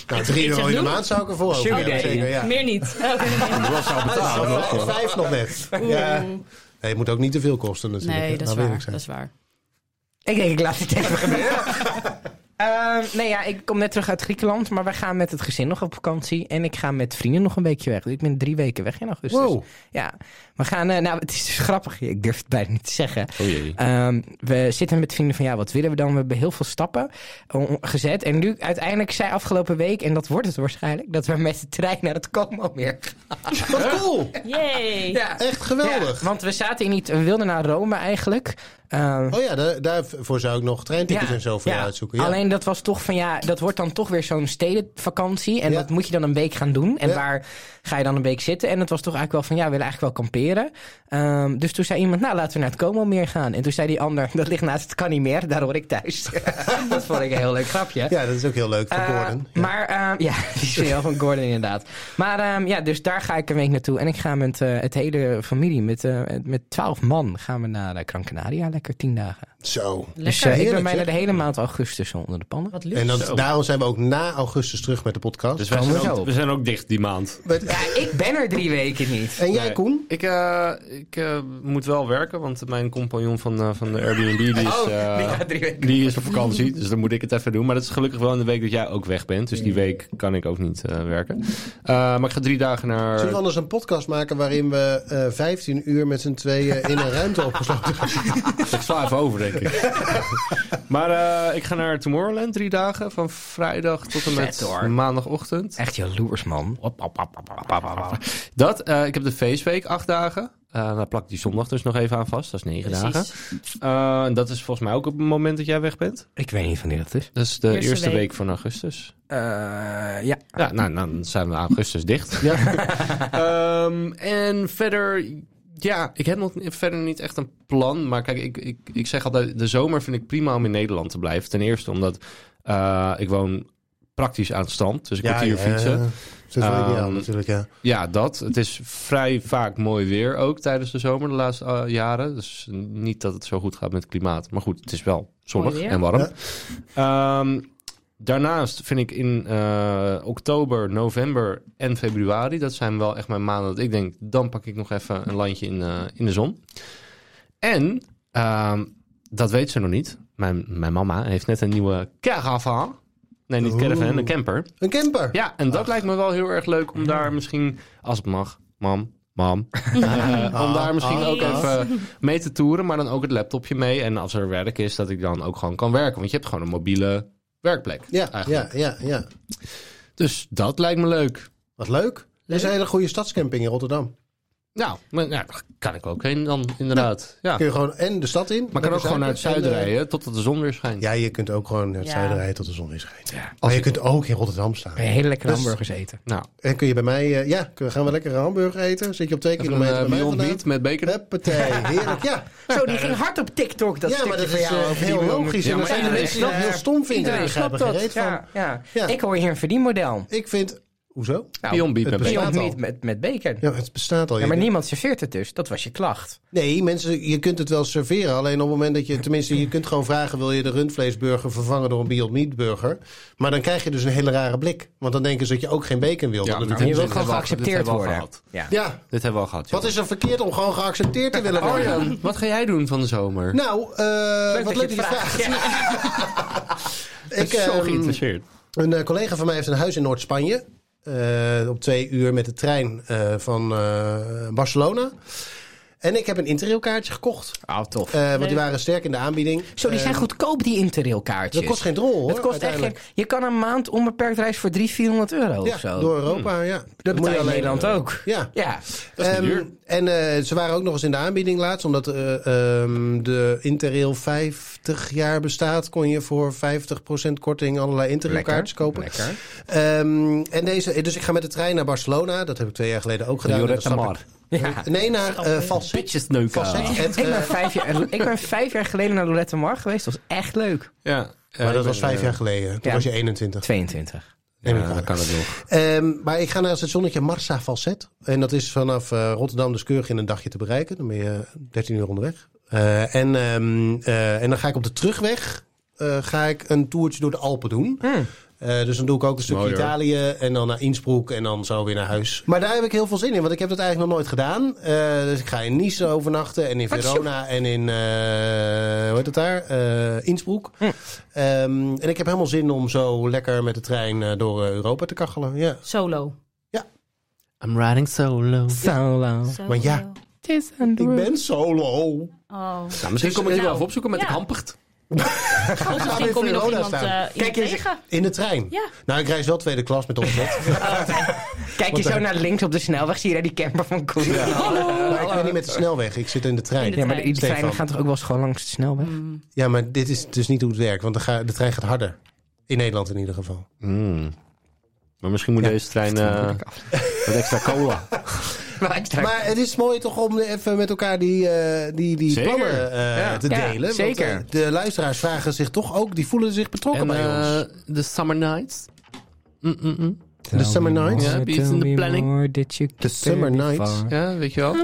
B: Nou, 3
D: iets
B: euro in de
D: doen.
B: maand zou ik ervoor over
C: Sugar
B: hebben,
C: daddy.
B: Zeker, ja.
D: meer niet. Oké.
A: Wel zou betalen.
B: Ah, vijf- Vijf nog net.
D: Oeh.
B: Ja. Nee, het moet ook niet te veel kosten natuurlijk.
D: Nee, dat is
B: Laten we
D: waar.
B: eerlijk
D: Dat
B: zijn.
D: is waar.
C: Ik denk, ik laat het even gebeuren. [LAUGHS] Ehm, nee, ja, ik kom net terug uit Griekenland, maar wij gaan met het gezin nog op vakantie. En ik ga met vrienden nog een weekje weg. Dus ik ben drie weken weg in augustus.
B: Wow.
C: Ja, we gaan, eh, nou, het is dus grappig. Ik durf het bijna niet te zeggen.
A: Oh jee.
C: Ehm, we zitten met vrienden van ja, wat willen we dan? We hebben heel veel stappen eh, gezet. En nu uiteindelijk zei afgelopen week, en dat wordt het waarschijnlijk, dat we met de trein naar het Como meer.
B: Wat cool!
D: Yay.
C: Ja,
B: Echt geweldig.
C: Ja, want we zaten in iets, we wilden naar Rome eigenlijk. Ehm,
B: Oh ja, daar, daarvoor zou ik nog treintickets en zo voor
C: ja.
B: jou uitzoeken. Ja.
C: Alleen dat was toch van ja, dat wordt dan toch weer zo'n stedenvakantie. En
B: Ja.
C: dat moet je dan een week gaan doen. En
B: Ja.
C: waar ga je dan een week zitten? En het was toch eigenlijk wel van ja, we willen eigenlijk wel kamperen. Ehm, dus toen zei iemand, nou laten we naar het Como meer gaan. En toen zei die ander, dat ligt naast het kan niet meer, daar hoor ik
B: [LAUGHS]
C: thuis. dat vond ik een heel leuk grapje.
B: ja, dat is ook heel leuk voor
C: Eh,
B: Gordon. Ja.
C: Maar ehm, ja, [LAUGHS] die is wel van Gordon inderdaad. Maar ehm, ja, dus daar ga ik een week naartoe. En ik ga met eh, het hele familie, met, eh, met twaalf man, gaan we naar eh, Gran Canaria. Lekker tien dagen.
B: Zo.
C: Dus
D: Lekker.
C: eh, ik ben
B: Heerlijk,
C: bijna
B: zeg.
C: de hele maand augustus onder de pannen.
D: Wat luxe.
B: En dat, daarom zijn we ook na augustus terug met de podcast.
A: Dus wij
C: Komen we
A: zijn,
C: zo
A: ook,
C: op.
A: we zijn ook dicht die maand.
C: Ja, ik ben er drie weken niet.
B: en jij,
A: Nee.
B: Koen?
A: Ik, eh, ik eh, moet wel werken, want mijn compagnon van, eh, van de Airbnb die is,
C: Oh,
A: eh,
C: die gaat drie weken.
A: die is op vakantie. Dus dan moet ik het even doen. Maar dat is gelukkig wel in de week dat jij ook weg bent. Dus die week kan ik ook niet eh, werken. Eh, maar ik ga drie dagen naar...
B: Zullen we anders een podcast maken waarin we eh 15 uur met z'n tweeën in een ruimte opgesloten gaan?
A: [LAUGHS] Ik sla even over, denk ik. [LAUGHS] maar eh, ik ga naar Tomorrowland drie dagen. Van vrijdag tot en met
C: Vet, hoor. Eh,
A: maandagochtend.
C: Echt jaloers, man. Op, op, op, op, op, op, op.
A: Dat, eh, ik heb de feestweek acht dagen. Eh daar plak ik die zondag dus nog even aan vast. Dat is negen dagen.
D: Precies.
A: Eh, en dat is volgens mij ook op het moment dat jij weg bent.
C: Ik weet niet wanneer dat is. Eh,
A: Dat is de eerste,
D: Eerste
A: week.
D: week.
A: van augustus.
C: ja.
A: Ja, nou, dan zijn we augustus [LAUGHS] dicht. Ehm, en verder, ja, ik heb nog verder niet echt een plan. Maar kijk, ik, ik, ik zeg altijd, de zomer vind ik prima om in Nederland te blijven. Ten eerste omdat eh, ik woon praktisch aan het strand. Dus ik moet hier fietsen.
B: Dat is wel
A: Ehm,
B: ideaal natuurlijk, ja.
A: Ja, dat. Het is vrij vaak mooi weer ook tijdens de zomer de laatste eh, jaren. Dus niet dat het zo goed gaat met het klimaat. Maar goed, het is wel zonnig
D: Mooi weer.
A: en warm. Ehm, daarnaast vind ik in eh, oktober, november en februari... dat zijn wel echt mijn maanden dat ik denk... dan pak ik nog even een landje in, eh, in de zon. En, ehm, dat weet ze nog niet. Mijn, mijn mama heeft net een nieuwe caravan. Nee, niet caravan,
B: Oeh.
A: een camper.
B: Een camper.
A: Ja, en dat lijkt me wel heel erg leuk om daar misschien, als het mag, mam, mam, eh, om daar misschien
B: ah,
A: ook
D: ah.
A: even mee te toeren, maar dan ook het laptopje mee. En als er werk is, dat ik dan ook gewoon kan werken, want je hebt gewoon een mobiele werkplek.
B: Ja,
A: eigenlijk.
B: ja, ja, ja.
A: Dus dat lijkt me leuk.
B: Wat leuk. Er is een hele goede stadscamping in Rotterdam.
A: Nou, maar, nou, daar kan ik ook heen dan, inderdaad. Ja.
B: Kun je gewoon en de stad in.
A: Maar ik kan
B: naar
A: ook gewoon naar het zuiden
B: en, eh,
A: rijden, totdat de zon weer schijnt.
B: Ja, je kunt ook gewoon naar het
D: Ja.
B: zuiden rijden tot de zon weer schijnt. Maar je kunt ook in Rotterdam staan.
C: Een hele lekkere
B: Dus-
C: hamburgers eten.
A: Nou,
B: En kun je bij mij, eh, ja, kun- gaan we lekker een hamburger eten? Zit je op twee
A: even een
B: kilometer
A: eh,
B: bij mij
A: Beyond
B: vandaan?
A: Meat met bacon.
B: Huppatee, heerlijk,
A: [LAUGHS]
B: ja.
C: Zo, die ging hard op TikTok. Dat
B: ja, maar dat is
C: jou,
B: eh, heel logisch.
A: Ja,
B: en
A: maar
B: dat
A: iedereen
B: zijn de mensen die dat heel stom vinden. Ik begrijp er geen reet van.
C: Ja, ja.
B: Ja.
C: Ik hoor hier een verdienmodel.
B: Ik vind... Hoezo?
C: Nou,
A: Beyond Meat
B: het
A: met bacon.
C: Beyond
B: bestaat al.
C: Meat met, met bacon. Ja,
B: Ja, het bestaat al. je
C: maar
B: kunt-
C: niemand serveert het dus. Dat was je klacht.
B: Nee, mensen, je kunt het wel serveren. Alleen op het moment dat je... Tenminste, je kunt gewoon vragen... wil je de rundvleesburger vervangen door een Beyond Meat burger? Maar dan krijg je dus een hele rare blik. Want dan denken ze dat je ook geen bacon wil.
A: Ja,
B: Dat
A: maar
B: het
C: Je
B: niet
C: wil
B: zin
C: gewoon
B: heeft.
A: dit
C: geaccepteerd
A: hebben we al
C: worden.
A: gehad.
C: Ja.
B: Ja,
A: Dit hebben we al gehad.
B: wat
A: joh.
B: is er verkeerd om gewoon geaccepteerd te willen
A: Oh
B: worden?
A: Arjan, wat ga jij doen van de zomer?
B: Nou, eh, wat leuk dat je vraagt. [LAUGHS]
A: ik ben zo
B: ehm,
A: geïnteresseerd.
B: Een eh, collega van mij heeft een huis in Noord-Spanje. Eh, op twee uur met de trein eh, van eh, Barcelona. En ik heb een interrailkaartje gekocht.
C: Oh, tof.
B: Eh, want die waren sterk in de aanbieding.
C: Zo, die zijn goedkoop, die interrailkaartjes.
B: Eh, Dat kost geen drol hoor.
C: Het kost echt geen,
B: uiteindelijk.
C: je kan een maand onbeperkt reis voor 300, 400 euro of
B: Ja,
C: zo. Hmm.
B: door Europa, ja.
C: dat
B: moet je
C: betaal
B: eh,
C: je in Nederland ook.
B: Ja.
C: Ja.
A: is niet
B: Ehm,
A: duur.
B: en eh, ze waren ook nog eens in de aanbieding laatst. Omdat eh, ehm, de Interrail 50 jaar bestaat, kon je voor 50% korting allerlei Interrailkaartjes kopen.
C: Lekker.
B: Ehm, en deze, dus ik ga met de trein naar Barcelona. Dat heb ik twee jaar geleden ook gedaan.
C: Lloret de
B: Dat snap
C: Mar.
B: ik.
C: Ja.
B: Nee, naar eh Falset.
A: Bitches neuken.
B: Falset. Het,
C: Ik
B: eh,
C: ben, vijf jaar,
B: [LAUGHS]
C: ik ben vijf jaar geleden naar Lorette Mar geweest. Dat was echt leuk.
A: Ja, eh,
B: maar dat was vijf jaar geleden. Toen
C: ja.
B: was je 21.
C: 22.
B: Neem ik
A: Ja,
B: aan.
A: dan kan het nog.
B: Ehm, maar ik ga naar het stationnetje Marsa Falset. En dat is vanaf eh, Rotterdam dus keurig in een dagje te bereiken. Dan ben je eh, 13 uur onderweg. Eh, Eh, en, ehm, eh, en dan ga ik op de terugweg eh, ga ik een toertje door de Alpen doen. Eh, dus dan doe ik ook een stukje
A: Mooi, hoor.
B: Italië en dan naar Innsbruck en dan zo weer naar huis. Maar daar heb ik heel veel zin in, want ik heb dat eigenlijk nog nooit gedaan. Eh, dus ik ga in Nice overnachten en in
C: Wat
B: Verona en in, eh, hoe heet het daar? Eh, Innsbruck.
C: Hm.
B: Ehm, en ik heb helemaal zin om zo lekker met de trein eh, door eh, Europa te kachelen. Ja.
D: Solo.
A: I'm riding solo.
C: Solo.
B: Want ja, Ik ben solo.
D: Oh.
A: Nou, misschien
B: dus
A: kom ik je
D: Nou,
A: wel even opzoeken met
D: ja.
A: de kampert.
D: Misschien
B: weer
D: kom je nog
B: Verona
D: iemand,
B: staan.
D: eh, iemand
C: Kijk eens.
D: tegen.
B: In de trein.
D: Ja.
B: Nou, ik reis wel tweede klas met opzet.
C: Kijk
B: eh,
C: je zo naar links op de snelweg, zie je daar die camper van Koen. [LAUGHS] Ja. Oh.
B: Maar ik ben niet met de snelweg, ik zit in de trein.
D: In de-
C: maar die- die
B: Stefan.
C: treinen gaan toch ook wel eens gewoon langs de snelweg?
D: Mm,
B: Ja, maar dit is dus niet hoe het werkt, want de, ga- de trein gaat harder. In Nederland in ieder geval.
A: Hmm. Maar misschien moet deze trein eh [LAUGHS] wat extra [LAUGHS] cola.
C: Maar ik
B: [LAUGHS]
C: trek-
B: Maar het is mooi toch om even met elkaar die, eh, die, die
A: Zeker.
B: plannen eh,
A: Ja.
B: te
C: Ja,
B: delen. want,
C: zeker.
B: eh, de luisteraars vragen zich toch ook, die voelen zich betrokken
A: En
B: bij ons.
A: eh, de Summer Nights. Mm -mm -mm.
B: De Summer Nights.
A: Ja, heb je iets in de planning?
B: De Summer Nights.
A: Ja, weet je wel.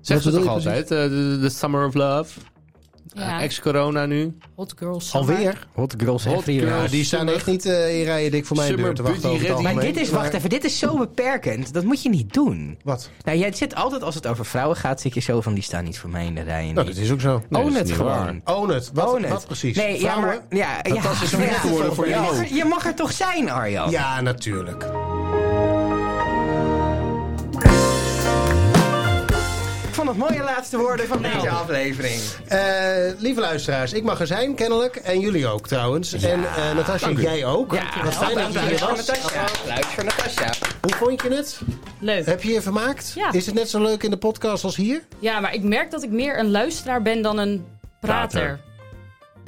A: Zeg ze
B: bedoel
A: toch
B: je precies?
A: altijd, eh, de, de Summer of Love.
D: Ja.
A: Eh, Ex-corona nu.
D: Hot girls. summer.
B: Alweer?
C: Hot girls
A: Hot
C: everywhere.
A: girls.
B: Ja, die staan echt niet eh in rijen dik voor mij
A: Summer
B: deur te wachten
A: Beauty
B: over het
A: Ready.
C: Maar
B: algemeen.
C: dit is, wacht even, dit is zo beperkend. Dat moet je niet doen.
B: Wat?
C: Nou, jij zit altijd als het over vrouwen gaat, zit je zo van die staan niet voor mij in de rij.
B: Nou, dat is ook zo.
A: Nee,
C: Own
A: dat
C: het
A: is niet waar.
C: gewoon.
B: Own it. Wat,
C: Own it.
B: wat precies?
C: Nee, ja,
B: Vrouwen?
C: maar. Ja, ja.
B: Dat is een
C: Ja.
B: woord geworden voor
C: je
B: jou.
C: mag, er, je mag er toch zijn, Arjan?
B: Ja, natuurlijk.
C: Ik vond het mooie laatste woorden van deze aflevering.
B: Eh, lieve luisteraars, ik mag er zijn kennelijk. En jullie ook trouwens. En eh Natasja, jij ook.
C: nou,
B: Wat fijn dat je hier was.
C: Applaus voor Natasja.
B: Hoe vond je het?
D: Leuk.
B: Heb je je vermaakt?
D: Ja.
B: Is het net zo leuk in de podcast als hier?
D: Ja, maar ik merk dat ik meer een luisteraar ben dan een prater.
A: Prater.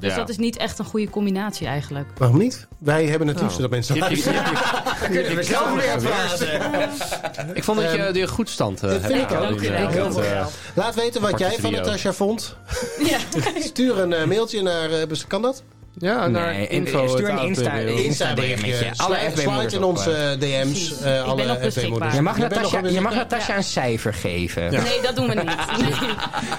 D: Dus
A: Ja. [LAUGHS]
D: dat is niet echt een goede combinatie eigenlijk.
B: Waarom niet? Wij hebben het liefst dat mensen
A: Je- je-
B: luisteren.
A: je-
C: Kunnen we zo weer praten?
A: Ik vond dat je, je goed stand eh
B: dat vind ik
A: hebt.
B: ook.
A: Ja,
B: Ik
A: dat,
B: ook.
A: eh,
B: Laat weten wat
A: Aparte
B: jij van
A: trio.
B: Natasja vond.
D: [LAUGHS] Ja.
B: Stuur een eh, mailtje naar... eh, kan dat?
A: Ja, naar
C: Nee,
A: info.
C: stuur een
A: het
C: Insta-
A: avondwereld.
C: Insta- DM'tje.
B: Sla-
C: Alle FB
B: Slide
C: moeders
B: in
C: op,
B: onze DM's.
D: Precies.
B: eh,
D: Ik
B: alle
D: ben nog
B: FB
D: beschikbaar.
B: moeders.
C: Je mag,
B: bent nog
C: Natasja,
B: wel
C: je mag
B: beschikbaar.
C: Natasja een cijfer geven.
A: Ja.
D: Nee, dat doen we niet. Nee.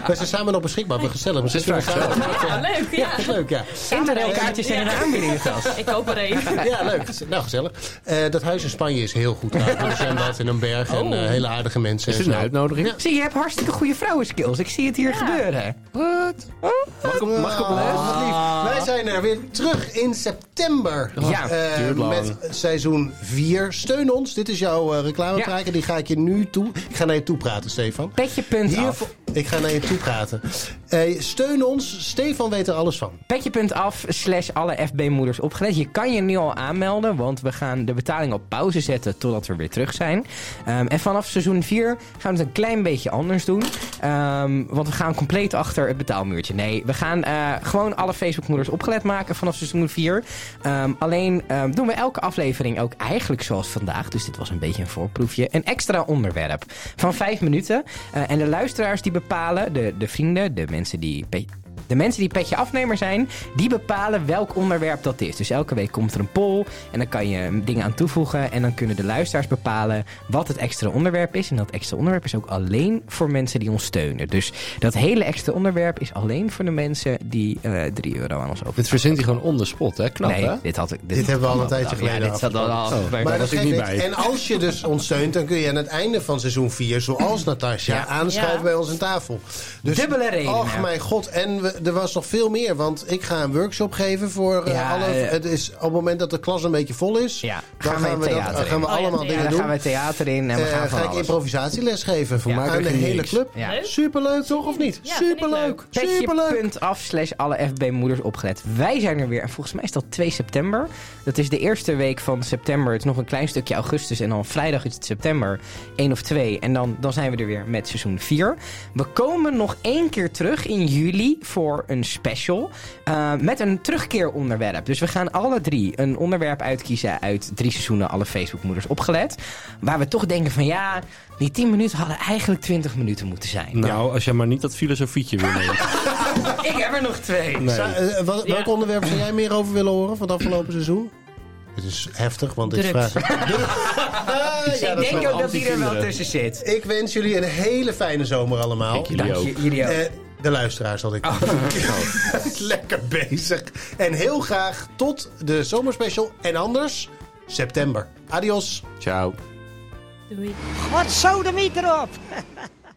B: We zijn samen nog beschikbaar. We gezellig. We zitten samen.
D: Ja, leuk. Ja.
B: Dat is leuk, ja.
C: Interrailkaartjes zijn in de aanbiedingentas.
D: Ik koop er één.
A: [LAUGHS]
B: Ja, leuk. Nou, gezellig. Eh, dat huis in Spanje is heel goed. Daar een zwembad en een berg en eh, hele aardige mensen.
A: Is
B: en
A: dit een
B: zo.
A: uitnodiging?
C: Zie, je hebt hartstikke goede vrouwenskills. Ik zie het hier gebeuren.
A: Wat? Mag ik op, mag ik op les?
B: Ah, wat lief. Wij zijn er weer terug in september.
C: Ja,
B: Eh,
A: duurt lang.
B: met seizoen 4. Steun ons. Dit is jouw eh reclamepraatje. Die ga ik je nu toe. Ik ga naar je toe praten, Stefan.
C: Petje punt
B: Hiervoor-
C: af.
B: Ik ga naar je toe praten. Eh, steun ons. Stefan weet er alles van.
C: Petje punt af slash alle FB-moeders opgelet. Je kan je nu al aanmelden, want we gaan de betaling op pauze zetten totdat we weer terug zijn. Ehm, en vanaf seizoen 4 gaan we het een klein beetje anders doen. Ehm, want we gaan compleet achter het betaalmuurtje. Nee, we gaan eh, gewoon alle Facebook-moeders opgelet maken vanaf seizoen 4. Ehm, alleen ehm, doen we elke aflevering ook eigenlijk zoals vandaag. Dus dit was een beetje een voorproefje. Een extra onderwerp van 5 minuten. Eh, en de luisteraars die bepalen, de, de vrienden, de mensen die... pe- de mensen die petje afnemer zijn, die bepalen welk onderwerp dat is. Dus elke week komt er een poll en dan kan je dingen aan toevoegen. En dan kunnen de luisteraars bepalen wat het extra onderwerp is. En dat extra onderwerp is ook alleen voor mensen die ons steunen. Dus dat hele extra onderwerp is alleen voor de mensen die eh 3 euro aan ons over.
A: Dit verzint hij gewoon on the spot, hè? Knap,
C: nee,
A: hè?
C: dit had ik.
B: Dit hebben we al een tijdje
C: Oh, Ja,
B: geleden
C: dit zat al
B: afgesproken.
C: af.
A: Oh,
B: Maar
A: Daar
B: dat
A: was ik
B: geeft
A: niet
B: niks.
A: bij.
B: En als je
C: [LAUGHS]
B: dus ons steunt, dan kun je aan het einde van seizoen 4, zoals Natasja,
C: Ja.
B: aanschuiven
D: Ja.
B: bij ons aan tafel. Dus,
C: Dubbele redenen.
B: Och, mijn god. En we- er was nog veel meer, want ik ga een workshop geven voor eh,
C: Ja,
B: alle...
C: eh,
B: het is op het moment dat de klas een beetje vol is,
C: Ja,
B: dan gaan,
C: gaan we
B: we, dat-
C: theater
B: gaan we
D: in. Oh ja,
B: allemaal
D: nee,
B: dingen
C: En dan
B: doen.
C: gaan we het theater in en we
B: Eh,
C: gaan
B: ga
C: van
B: ik
C: alles.
B: improvisatieles geven voor
C: Ja,
B: aan de
C: maak ik
B: hele
C: niks.
B: club.
C: Ja.
D: Leuk.
B: Superleuk, toch? Of niet?
D: Ja, vind ik
B: Superleuk.
C: Petje
B: Superleuk.
C: punt af slash alle FB-moeders opgelet. Wij zijn er weer. En volgens mij is dat 2 september. Dat is de eerste week van september. Het is nog een klein stukje augustus. En dan vrijdag is het september 1 of 2. En dan, dan zijn we er weer met seizoen 4. We komen nog één keer terug in juli voor een special. eh, met een terugkeeronderwerp. Dus we gaan alle drie een onderwerp uitkiezen uit drie seizoenen alle Facebook-moeders opgelet. Waar we toch denken van ja, die 10 minuten hadden eigenlijk 20 minuten moeten zijn.
A: Nou, als jij maar niet dat filosofietje weer [LAUGHS] neemt.
C: Ik heb er nog twee.
B: Zou- eh, wat- Welk onderwerp zou jij meer over willen horen van het afgelopen seizoen? Dit is heftig, want dit
D: Drugs.
B: vraagt... Ah, ja, dat
C: ik denk
B: is
C: ook dat die er wel tussen zit.
B: Ik wens jullie een hele fijne zomer allemaal.
A: Dank jullie Oh.
C: Dank
A: ook.
C: je- jullie ook.
B: Eh, de luisteraars had ik. [LAUGHS] Lekker bezig. En heel graag tot de zomerspecial. En anders, september. Adios.
A: Ciao.
D: Doei.
E: Wat sodemieter op!